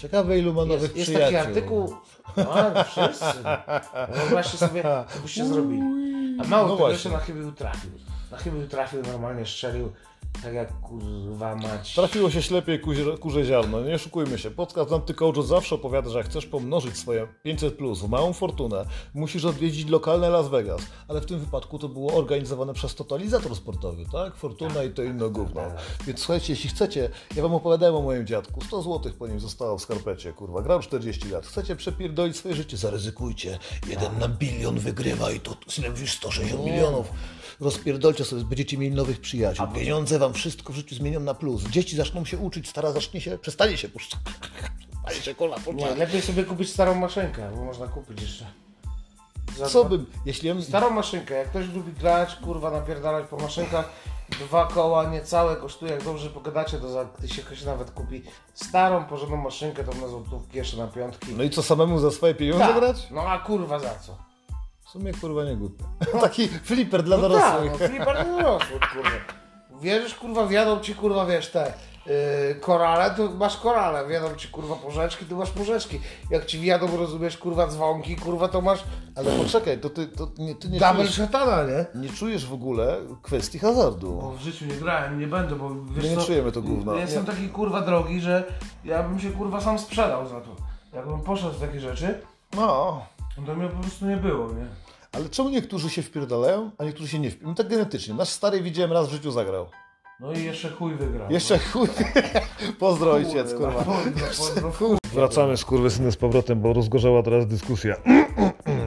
Speaker 1: ciekawe ilu ma nowych
Speaker 2: Jest, jest
Speaker 1: przyjaciół.
Speaker 2: taki artykuł, no wszyscy, wyobraźcie sobie, co byście zrobili. A mało
Speaker 1: No
Speaker 2: tego,
Speaker 1: właśnie.
Speaker 2: jeszcze na chybił trafił. Na chybił trafił, normalnie strzelił, tak jak kurwa mać.
Speaker 1: Trafiło się ślepie kurze, kurze ziarno, nie oszukujmy się. Podcast Antycoach od zawsze opowiada, że jak chcesz pomnożyć swoje 500 plus w małą fortunę, musisz odwiedzić lokalne Las Vegas. Ale w tym wypadku to było organizowane przez totalizator sportowy, tak? Fortuna i to inno gówno. Więc słuchajcie, jeśli chcecie, ja wam opowiadałem o moim dziadku, 100 zł po nim zostało w skarpecie, kurwa, grał 40 lat. Chcecie przepierdolić swoje życie,
Speaker 6: Zaryzykujcie. Jeden na bilion wygrywa i to ile mówisz 160 milionów.
Speaker 1: rozpierdolcie sobie, będziecie mieli nowych przyjaciół.
Speaker 6: A pieniądze wam wszystko w życiu zmienią na plus. Dzieci zaczną się uczyć, stara zacznie się, przestanie się puszczać. <laughs> Przestanie się kola
Speaker 2: Nie,
Speaker 6: puszczać.
Speaker 2: lepiej sobie kupić starą maszynkę, bo można kupić jeszcze. Za
Speaker 1: No, Co
Speaker 2: dwa-
Speaker 1: bym, jeśli ja bym...
Speaker 2: Starą maszynkę, jak ktoś lubi grać, kurwa, napierdalać po maszynkach, dwa koła niecałe kosztuje, jak dobrze pogadacie, to za tysiąc ktoś nawet kupi starą, porządną maszynkę, to na złotówki, jeszcze na piątki.
Speaker 1: No i co, samemu za swoje pieniądze
Speaker 2: Tak.
Speaker 1: grać?
Speaker 2: No a kurwa za co?
Speaker 1: W sumie kurwa nie głupie.
Speaker 6: No.
Speaker 1: Taki flipper dla
Speaker 2: No tak,
Speaker 1: dorosłych.
Speaker 2: no flipper dla dorosłych, kurwa. Wierzysz, kurwa, wiadą ci, kurwa, wiesz, te yy, korale, to masz korale, wiadą ci, kurwa, porzeczki, to masz porzeczki. Jak ci wiadą, rozumiesz, kurwa, dzwonki, kurwa, to masz
Speaker 6: no.
Speaker 1: Ale poczekaj, to ty, to nie, ty nie,
Speaker 2: double
Speaker 1: czujesz,
Speaker 2: szatana, nie?
Speaker 1: nie czujesz w ogóle kwestii hazardu.
Speaker 7: Bo w życiu nie grałem, nie będę, bo wiesz
Speaker 1: My nie
Speaker 7: co,
Speaker 1: czujemy to gówno.
Speaker 7: Ja jestem taki kurwa drogi, że ja bym się kurwa sam sprzedał za to. Jakbym poszedł w takie rzeczy,
Speaker 1: No,
Speaker 7: to mnie po prostu nie było, nie?
Speaker 1: ale czemu niektórzy się wpierdalają, a niektórzy się nie wpierdalają? Tak genetycznie. Nasz stary widziałem raz w życiu zagrał.
Speaker 7: No i jeszcze chuj wygrał. no.
Speaker 1: Jeszcze chuj. <laughs> Pozdro ojciec,
Speaker 7: Kurwa,
Speaker 1: kurwa.
Speaker 7: pozdro, pozdro,
Speaker 6: no.
Speaker 1: Wracamy z kurwysyny z powrotem, bo rozgorzała teraz dyskusja. <clears throat>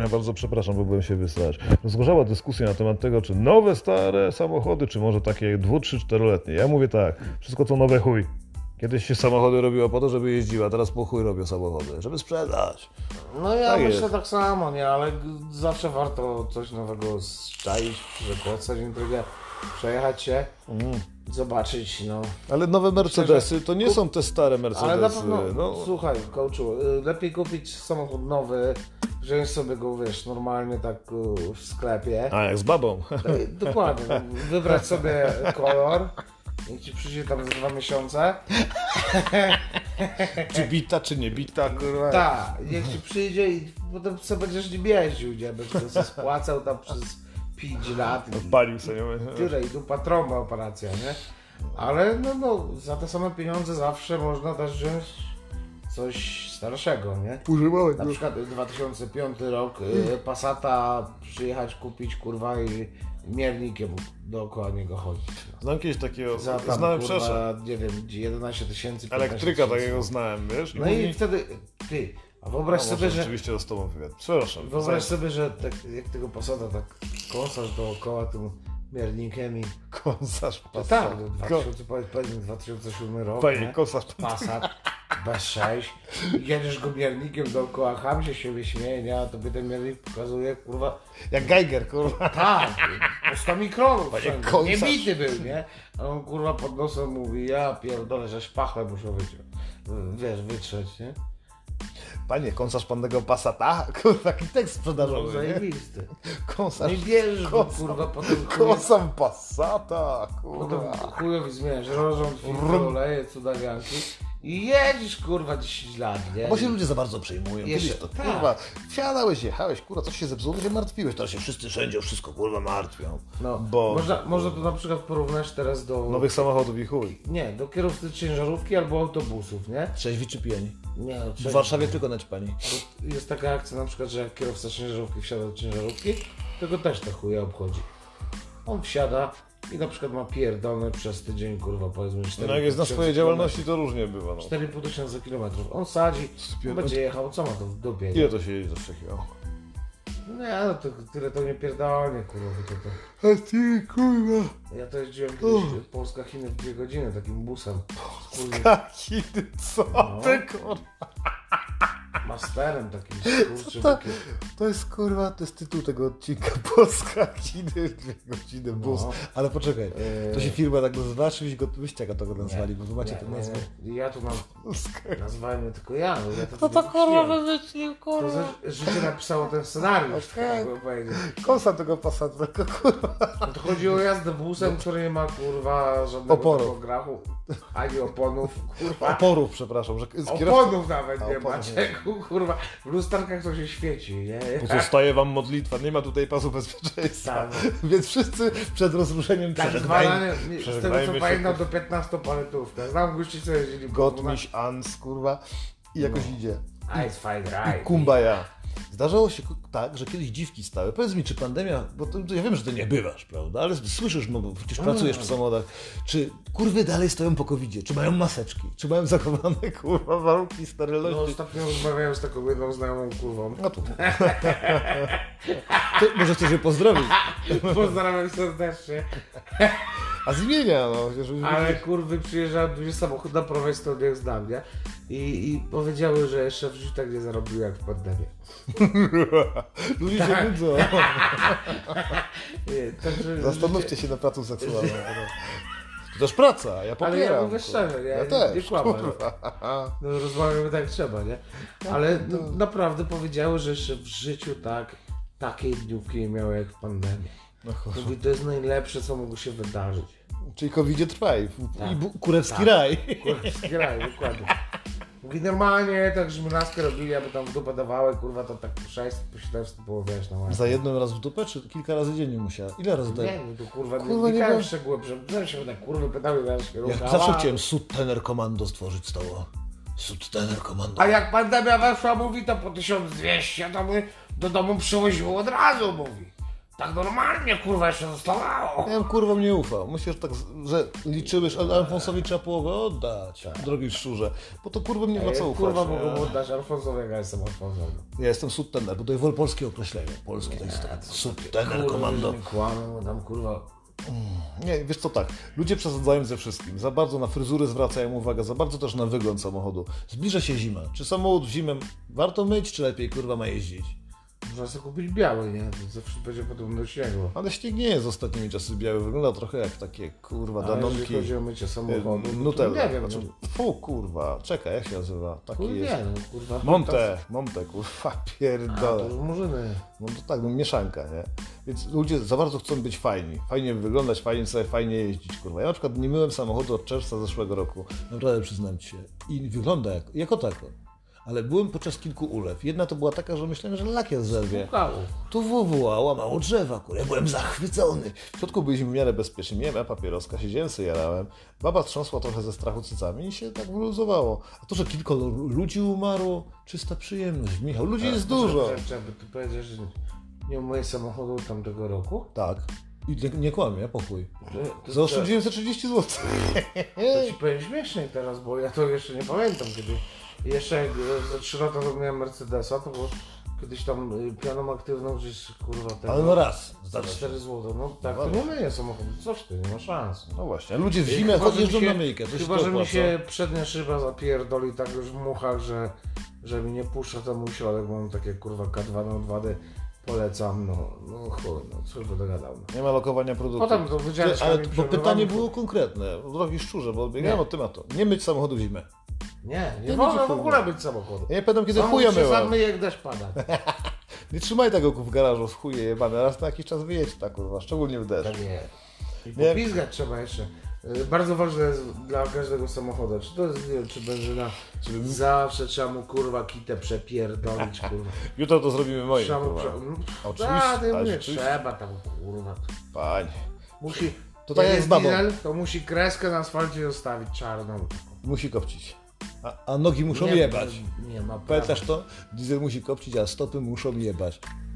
Speaker 1: Ja bardzo przepraszam, bo byłem się wysrać. Rozgorzała dyskusja na temat tego, czy nowe, stare samochody, czy może takie 2, 3, 4-letnie. Ja mówię tak, wszystko co nowe chuj. Kiedyś się samochody robiło po to, żeby jeździła, a teraz po chuj robią samochody, żeby sprzedać.
Speaker 2: No ja
Speaker 1: Tak
Speaker 2: myślę
Speaker 1: jest.
Speaker 2: tak samo, nie, ale g- zawsze warto coś nowego szczaić, przekłacać intrygę, przejechać się,
Speaker 1: Mm.
Speaker 2: zobaczyć, no.
Speaker 1: Ale nowe Mercedesy to nie są te stare
Speaker 2: Ale na
Speaker 1: Mercedesy.
Speaker 2: pewno,
Speaker 1: No,
Speaker 2: słuchaj, coachu, y, lepiej kupić samochód nowy, wziąć sobie go, wiesz, normalnie tak y, w
Speaker 1: <laughs>
Speaker 2: sklepie.
Speaker 1: a jak z babą.
Speaker 2: Y, Dokładnie, no, wybrać sobie kolor, niech ci przyjdzie tam za dwa miesiące.
Speaker 1: czy bita, czy nie bita, kurwa.
Speaker 2: Tak, niech ci przyjdzie i potem co będziesz nim jeździł, nie? Będziesz sobie spłacał tam przez 5 lat. i-
Speaker 1: Palił sobie.
Speaker 2: Tyle i dupa trąba operacja, nie? Ale no, no, za te same pieniądze zawsze można też wziąć coś starszego, nie?
Speaker 1: Używałem
Speaker 2: Na przykład 2005 rok y,
Speaker 1: Hmm.
Speaker 2: Passata przyjechać kupić kurwa i miernikiem dookoła niego chodzić. No.
Speaker 1: Znam kiedyś takiego,
Speaker 2: Za tam,
Speaker 1: znałem
Speaker 2: kurwa,
Speaker 1: przeszedł.
Speaker 2: nie wiem, 11 tysięcy, 15
Speaker 1: Elektryka
Speaker 2: tysięcy.
Speaker 1: takiego znałem, wiesz?
Speaker 2: No i wtedy, ty, A wyobraź
Speaker 1: A
Speaker 2: sobie,
Speaker 1: może
Speaker 2: że
Speaker 1: rzeczywiście z tobą wywiad. Przepraszam.
Speaker 2: Wyobraź sobie, że tak, jak tego posada tak kąsasz dookoła tym miernikiem i...
Speaker 1: Kąsarz
Speaker 2: To
Speaker 1: pasat.
Speaker 2: tak, no,
Speaker 1: Ko-
Speaker 2: 2000, powiedz- powiedzmy 2007 rok,
Speaker 1: Panie,
Speaker 2: nie?
Speaker 1: kąsarz pasat.
Speaker 2: Passat, B6, i jedziesz go miernikiem dookoła, ham się siebie śmieje, nie? a tobie ten miernik pokazuje, kurwa,
Speaker 1: Jak Geiger, kurwa.
Speaker 2: tak, po 100 mikronów wszędzie,
Speaker 1: kąsarz.
Speaker 2: nie bity był, nie? A on kurwa pod nosem mówi, ja pierdolę, że szpachlę muszę wyciąć, wiesz, wytrzeć, nie?
Speaker 1: Panie, kąsarz pannego pasata. <laughs> Kurwa, taki tekst
Speaker 2: No,
Speaker 1: sprzedażowy, nie?
Speaker 2: zajebisty.
Speaker 1: Kąsarz.
Speaker 2: No i bierzesz go,
Speaker 1: Kąsarz.
Speaker 2: kurwa, potem...
Speaker 1: Kąsam pasata,
Speaker 2: Potem
Speaker 1: kurwa.
Speaker 2: chujowi zmieniasz rozrząd, filtr, oleje, cudawianki i jedziesz kurwa 10 lat, nie?
Speaker 8: Bo się ludzie za bardzo przejmują. Kiedyś
Speaker 2: Jeszcze-
Speaker 8: to
Speaker 2: tak.
Speaker 1: Kurwa, wsiadałeś, jechałeś, kurwa, coś się zepsuło, to się martwiłeś.
Speaker 8: teraz
Speaker 1: Teraz
Speaker 8: się wszyscy wszędzie o wszystko kurwa martwią.
Speaker 2: No,
Speaker 1: Boże. No
Speaker 2: można, można to na przykład porównać teraz do...
Speaker 1: Nowych samochodów i chuj.
Speaker 2: Nie, do kierowcy ciężarówki albo autobusów, nie?
Speaker 8: Trzeźwi czy pijani?
Speaker 2: Nie, no,
Speaker 8: W Warszawie tylko naćpani.
Speaker 2: jest taka akcja na przykład, że jak kierowca ciężarówki wsiada do ciężarówki, to go też ta chuja obchodzi. On wsiada i na przykład ma pierdolone przez tydzień, kurwa, powiedzmy 4
Speaker 1: No jak jest na swojej działalności, to różnie bywa, no.
Speaker 2: 4,5 tysiąca kilometrów. On sadzi,
Speaker 1: Spier-
Speaker 2: będzie jechał, co ma to w dupie? nie?
Speaker 1: Ile to się jeździ do takiego?
Speaker 2: Nie, no to tyle to nie pierdolnie, kurwa, to, to.
Speaker 1: A ty, kurwa.
Speaker 2: Ja to jeździłem kiedyś Polska-Chiny w dwie godziny takim busem. Wspólnie
Speaker 1: Taki ty, co ty, kurwa. <laughs>
Speaker 2: masterem takim, kurczę,
Speaker 1: to?
Speaker 2: takie-
Speaker 1: To jest kurwa, to jest tytuł tego odcinka. <laughs> Polska kiny, dwie godziny bus.
Speaker 2: No. e,
Speaker 1: Ale poczekaj, to się firma tak nazywa, czy byś go, byście go tego nazwali, bo wy macie tę
Speaker 2: Nie,
Speaker 1: nazwę.
Speaker 2: nie, Ja tu mam,
Speaker 1: Polska.
Speaker 2: nazwajmy tylko ja, no ja to
Speaker 1: No to
Speaker 2: tylko
Speaker 1: kurwa
Speaker 2: wymyśliłem.
Speaker 1: wymyślił,
Speaker 2: To
Speaker 1: kurwa.
Speaker 2: ze- życie napisało ten scenariusz,
Speaker 1: No tak.
Speaker 2: tak bym powiedzieć.
Speaker 1: Kosa tego pasa, tylko <laughs> kurwa.
Speaker 2: No to chodzi o jazdę busem, który nie ma, kurwa, żadnego
Speaker 1: Oporów.
Speaker 2: tachografu, ani oponów,
Speaker 1: <laughs>
Speaker 2: kurwa.
Speaker 1: Oporów, przepraszam, że z kierowcą.
Speaker 2: Oponów nawet nie
Speaker 1: Oponów
Speaker 2: ma,
Speaker 1: nie.
Speaker 2: czego, kurwa. W lusterkach to się świeci, nie?
Speaker 1: Pozostaje wam modlitwa, nie ma tutaj pasu bezpieczeństwa.
Speaker 2: Tak.
Speaker 1: <laughs> Więc wszyscy przed rozruszeniem
Speaker 2: Tak
Speaker 1: przeżegnajmy,
Speaker 2: zwane, nie, z tego
Speaker 1: przeżegnajmy
Speaker 2: co
Speaker 1: się.
Speaker 2: pamiętam, do 15 paletówka. Znam gości, co jeździli po dwunastu-
Speaker 1: Gotmiś, Ans, kurwa. I jakoś idzie.
Speaker 2: Ice Fight Ride.
Speaker 1: Kumbaja.
Speaker 8: Zdarzało się tak, że kiedyś dziwki stały. Powiedz mi, czy pandemia, bo to, to ja wiem, że ty nie bywasz, prawda, ale słyszysz, no bo przecież pracujesz w samochodach. Czy kurwy dalej stoją po covidzie? Czy mają maseczki? Czy mają zachowane <laughs> kurwa warunki
Speaker 2: No,
Speaker 8: sterylności?
Speaker 2: ostatnio rozmawiałem z taką jedną znajomą kurwą.
Speaker 8: No tu. <laughs> Ty, może chcesz je pozdrowić?
Speaker 2: <laughs> Pozdrawiam serdecznie.
Speaker 1: A zmienia, no. Żeby...
Speaker 2: Ale kurwy przyjeżdżały duży samochód na prawej stronie z nami, nie? I, I powiedziały, że jeszcze w życiu tak nie zarobiły jak w pandemii.
Speaker 1: Ludzie się
Speaker 2: tak. <laughs>
Speaker 1: nudzą.
Speaker 2: Nie,
Speaker 1: <laughs>
Speaker 2: także
Speaker 1: Zastanówcie się na pracę seksualną.
Speaker 8: no.
Speaker 1: To też praca, ja
Speaker 2: Ale
Speaker 1: popieram.
Speaker 2: ja
Speaker 1: kurwa.
Speaker 2: mówię szczerze, ja,
Speaker 1: ja
Speaker 2: nie-
Speaker 1: też,
Speaker 2: nie kłamę.
Speaker 1: kurwa.
Speaker 2: No rozmawiamy tak trzeba, nie? Ale no, naprawdę powiedziały, że jeszcze w życiu tak takiej dniówki nie miały jak w pandemii.
Speaker 1: No kurwa.
Speaker 2: Mówi, to jest najlepsze, co mogło się wydarzyć.
Speaker 1: Czyli covidzie trwaj. w- I
Speaker 2: Tak.
Speaker 1: bu- kurewski
Speaker 2: Tak.
Speaker 1: raj.
Speaker 2: Kurwa, zgraj, dokładnie. Mówi, normalnie, tak żmynaskę robili, aby tam w dupę dawały, kurwa, to tak po 6, po 17 było, wiesz, no, na łapie.
Speaker 1: Za jednym raz w dupę, czy kilka razy dziennie musiała? Ile razy
Speaker 2: Nie,
Speaker 1: daje?
Speaker 2: no to kurwa,
Speaker 1: Kurwa, nie
Speaker 2: nie wnikałem
Speaker 1: wiem.
Speaker 2: w szczegóły, że się na kurwy pytały, jak się
Speaker 8: Ja
Speaker 2: ruchała.
Speaker 8: zawsze chciałem sudtener komando stworzyć stało. Sudtener komando.
Speaker 2: A jak pandemia weszła, mówi, to po 1200 to my do domu przywoziło od razu, mówi. Tak normalnie, kurwa, jeszcze zostawało.
Speaker 1: Ja bym kurwa nie ufał. Myślę, że tak, z- że liczyłeś, ale Alfonsowi trzeba połowę oddać, drogi szczurze. Bo to kurwa mnie ma No co ufać.
Speaker 2: Tak. Kurwa,
Speaker 1: nie?
Speaker 2: mogą oddać Alfonsowi, jak ja jestem Alfonsem.
Speaker 1: Ja jestem sudtener, bo to jest polskie określenie.
Speaker 8: Polski to jest tak. Sudtener komando.
Speaker 2: Kurwa, kłamę, tam kurwa...
Speaker 1: Nie, wiesz co tak, ludzie przesadzają ze wszystkim. Za bardzo na fryzury zwracają uwagę, za bardzo też na wygląd samochodu.
Speaker 8: Zbliża się zima.
Speaker 1: Czy samochód w zimę warto myć, czy lepiej kurwa ma jeździć?
Speaker 2: Można sobie kupić biały, nie? To zawsze będzie podobno śniegu.
Speaker 1: Ale śnieg nie jest ostatnimi czasy biały, wygląda trochę jak takie kurwa
Speaker 2: Ale
Speaker 1: danonki.
Speaker 2: jeżeli chodzi o mycie samochodu,
Speaker 1: y,
Speaker 2: no to
Speaker 1: Nutella.
Speaker 2: nie wiem,
Speaker 1: Znaczy,
Speaker 2: no,
Speaker 1: fu kurwa, czekaj, jak się nazywa? Taki
Speaker 2: chuj
Speaker 1: jest.
Speaker 2: wie, no, kurwa.
Speaker 1: Monte, Monte, kurwa, <laughs>
Speaker 2: A, to
Speaker 1: pierdolę.
Speaker 2: już murzyny.
Speaker 1: No to tak, no mieszanka, nie? Więc ludzie za bardzo chcą być fajni. Fajnie wyglądać, fajnie sobie, fajnie jeździć, kurwa. Ja na przykład nie myłem samochodu od czerwca zeszłego roku.
Speaker 8: Naprawdę przyznam ci się. I wygląda jak, jako tako. Ale byłem podczas kilku ulew. Jedna to była taka, że myślałem, że lakier zerwie.
Speaker 2: Pukało.
Speaker 8: Tu WWA łamało drzewa, kurde. Byłem zachwycony.
Speaker 1: W środku byliśmy w miarę bezpieczni, miałem e-papieroska, siedziałem sobie, jarałem. Baba trząsła trochę ze strachu cycami i się tak wyluzowało. A to, że kilka lu- ludzi umarło, czysta przyjemność. Michał,
Speaker 2: Tak,
Speaker 1: ludzi jest dużo.
Speaker 2: Trzeba by tu powiedzieć, że nie umyję samochodu tamtego roku.
Speaker 1: Tak. I nie, nie kłamie, ja pochuj. Zaoszczędziłem za 30 zł.
Speaker 2: To ci powiem śmiesznie teraz, bo ja to jeszcze nie pamiętam kiedy. Jeszcze jak e, za 3 lata to miałem Mercedesa, to było kiedyś tam y, pianą aktywną gdzieś kurwa
Speaker 1: <laughs>
Speaker 2: tego.
Speaker 1: Ale no raz.
Speaker 2: Za 4 zł, no tak, to nie myję samochodu, coś ty, nie ma szans.
Speaker 1: No właśnie, a ludzie w
Speaker 2: Chyba,
Speaker 1: zimę
Speaker 2: że
Speaker 1: chodzą
Speaker 2: mi
Speaker 1: jeżdżą
Speaker 2: się-
Speaker 1: na myjkę. Coś
Speaker 2: Chyba,
Speaker 1: to
Speaker 2: że mi
Speaker 1: opłaca.
Speaker 2: się przednia szyba zapierdoli tak już w muchach, że, że mi nie puszcza tam mój środek, bo mam takie kurwa K2 na 2D, polecam, no, no chuj, no co by dogadał. No.
Speaker 1: Nie ma lokowania produktu.
Speaker 2: Potem to wydziałem
Speaker 1: Ty, ale bo pytanie było konkretne. Drogi szczurze, bo odbiegałem
Speaker 2: Nie.
Speaker 1: od tematu. Nie myć samochodu w zimę.
Speaker 2: Nie, nie
Speaker 1: To
Speaker 2: wolno
Speaker 1: będzie
Speaker 2: w
Speaker 1: chuj.
Speaker 2: ogóle być samochodu.
Speaker 1: Ja nie pamiętam kiedy
Speaker 2: Samochód
Speaker 1: chuja
Speaker 2: się
Speaker 1: myłem.
Speaker 2: sam myje, jak deszcz pada.
Speaker 1: Nie trzymaj tego w garażu w chuje jebane. Raz na jakiś czas wyjedź tak kurwa, szczególnie w deszcz.
Speaker 2: Tak jest. I
Speaker 1: Nie.
Speaker 2: popizgać trzeba jeszcze. Y, Bardzo ważne jest dla każdego samochodu, czy to jest diesel, czy benzyna, zawsze trzeba mu kurwa kitę przepierdolić, kurwa.
Speaker 1: Tak. Jutro to zrobimy moim.
Speaker 2: Trzeba mu
Speaker 1: kurwa.
Speaker 2: prze... Mm,
Speaker 1: Oczywiście,
Speaker 2: A, ty
Speaker 1: ale
Speaker 2: mówię,
Speaker 1: oczywiście.
Speaker 2: trzeba tam kurwa.
Speaker 1: Panie.
Speaker 2: Musi,
Speaker 1: To tak jak
Speaker 2: jest
Speaker 1: z babą.
Speaker 2: diesel, to musi kreskę na asfalcie zostawić czarną.
Speaker 1: Musi kopcić. A, a nogi muszą
Speaker 2: Nie-
Speaker 1: jebać.
Speaker 2: Nie ma Tak. prawa.
Speaker 1: Pamiętasz to? Diesel musi kopcić, a stopy muszą jebać.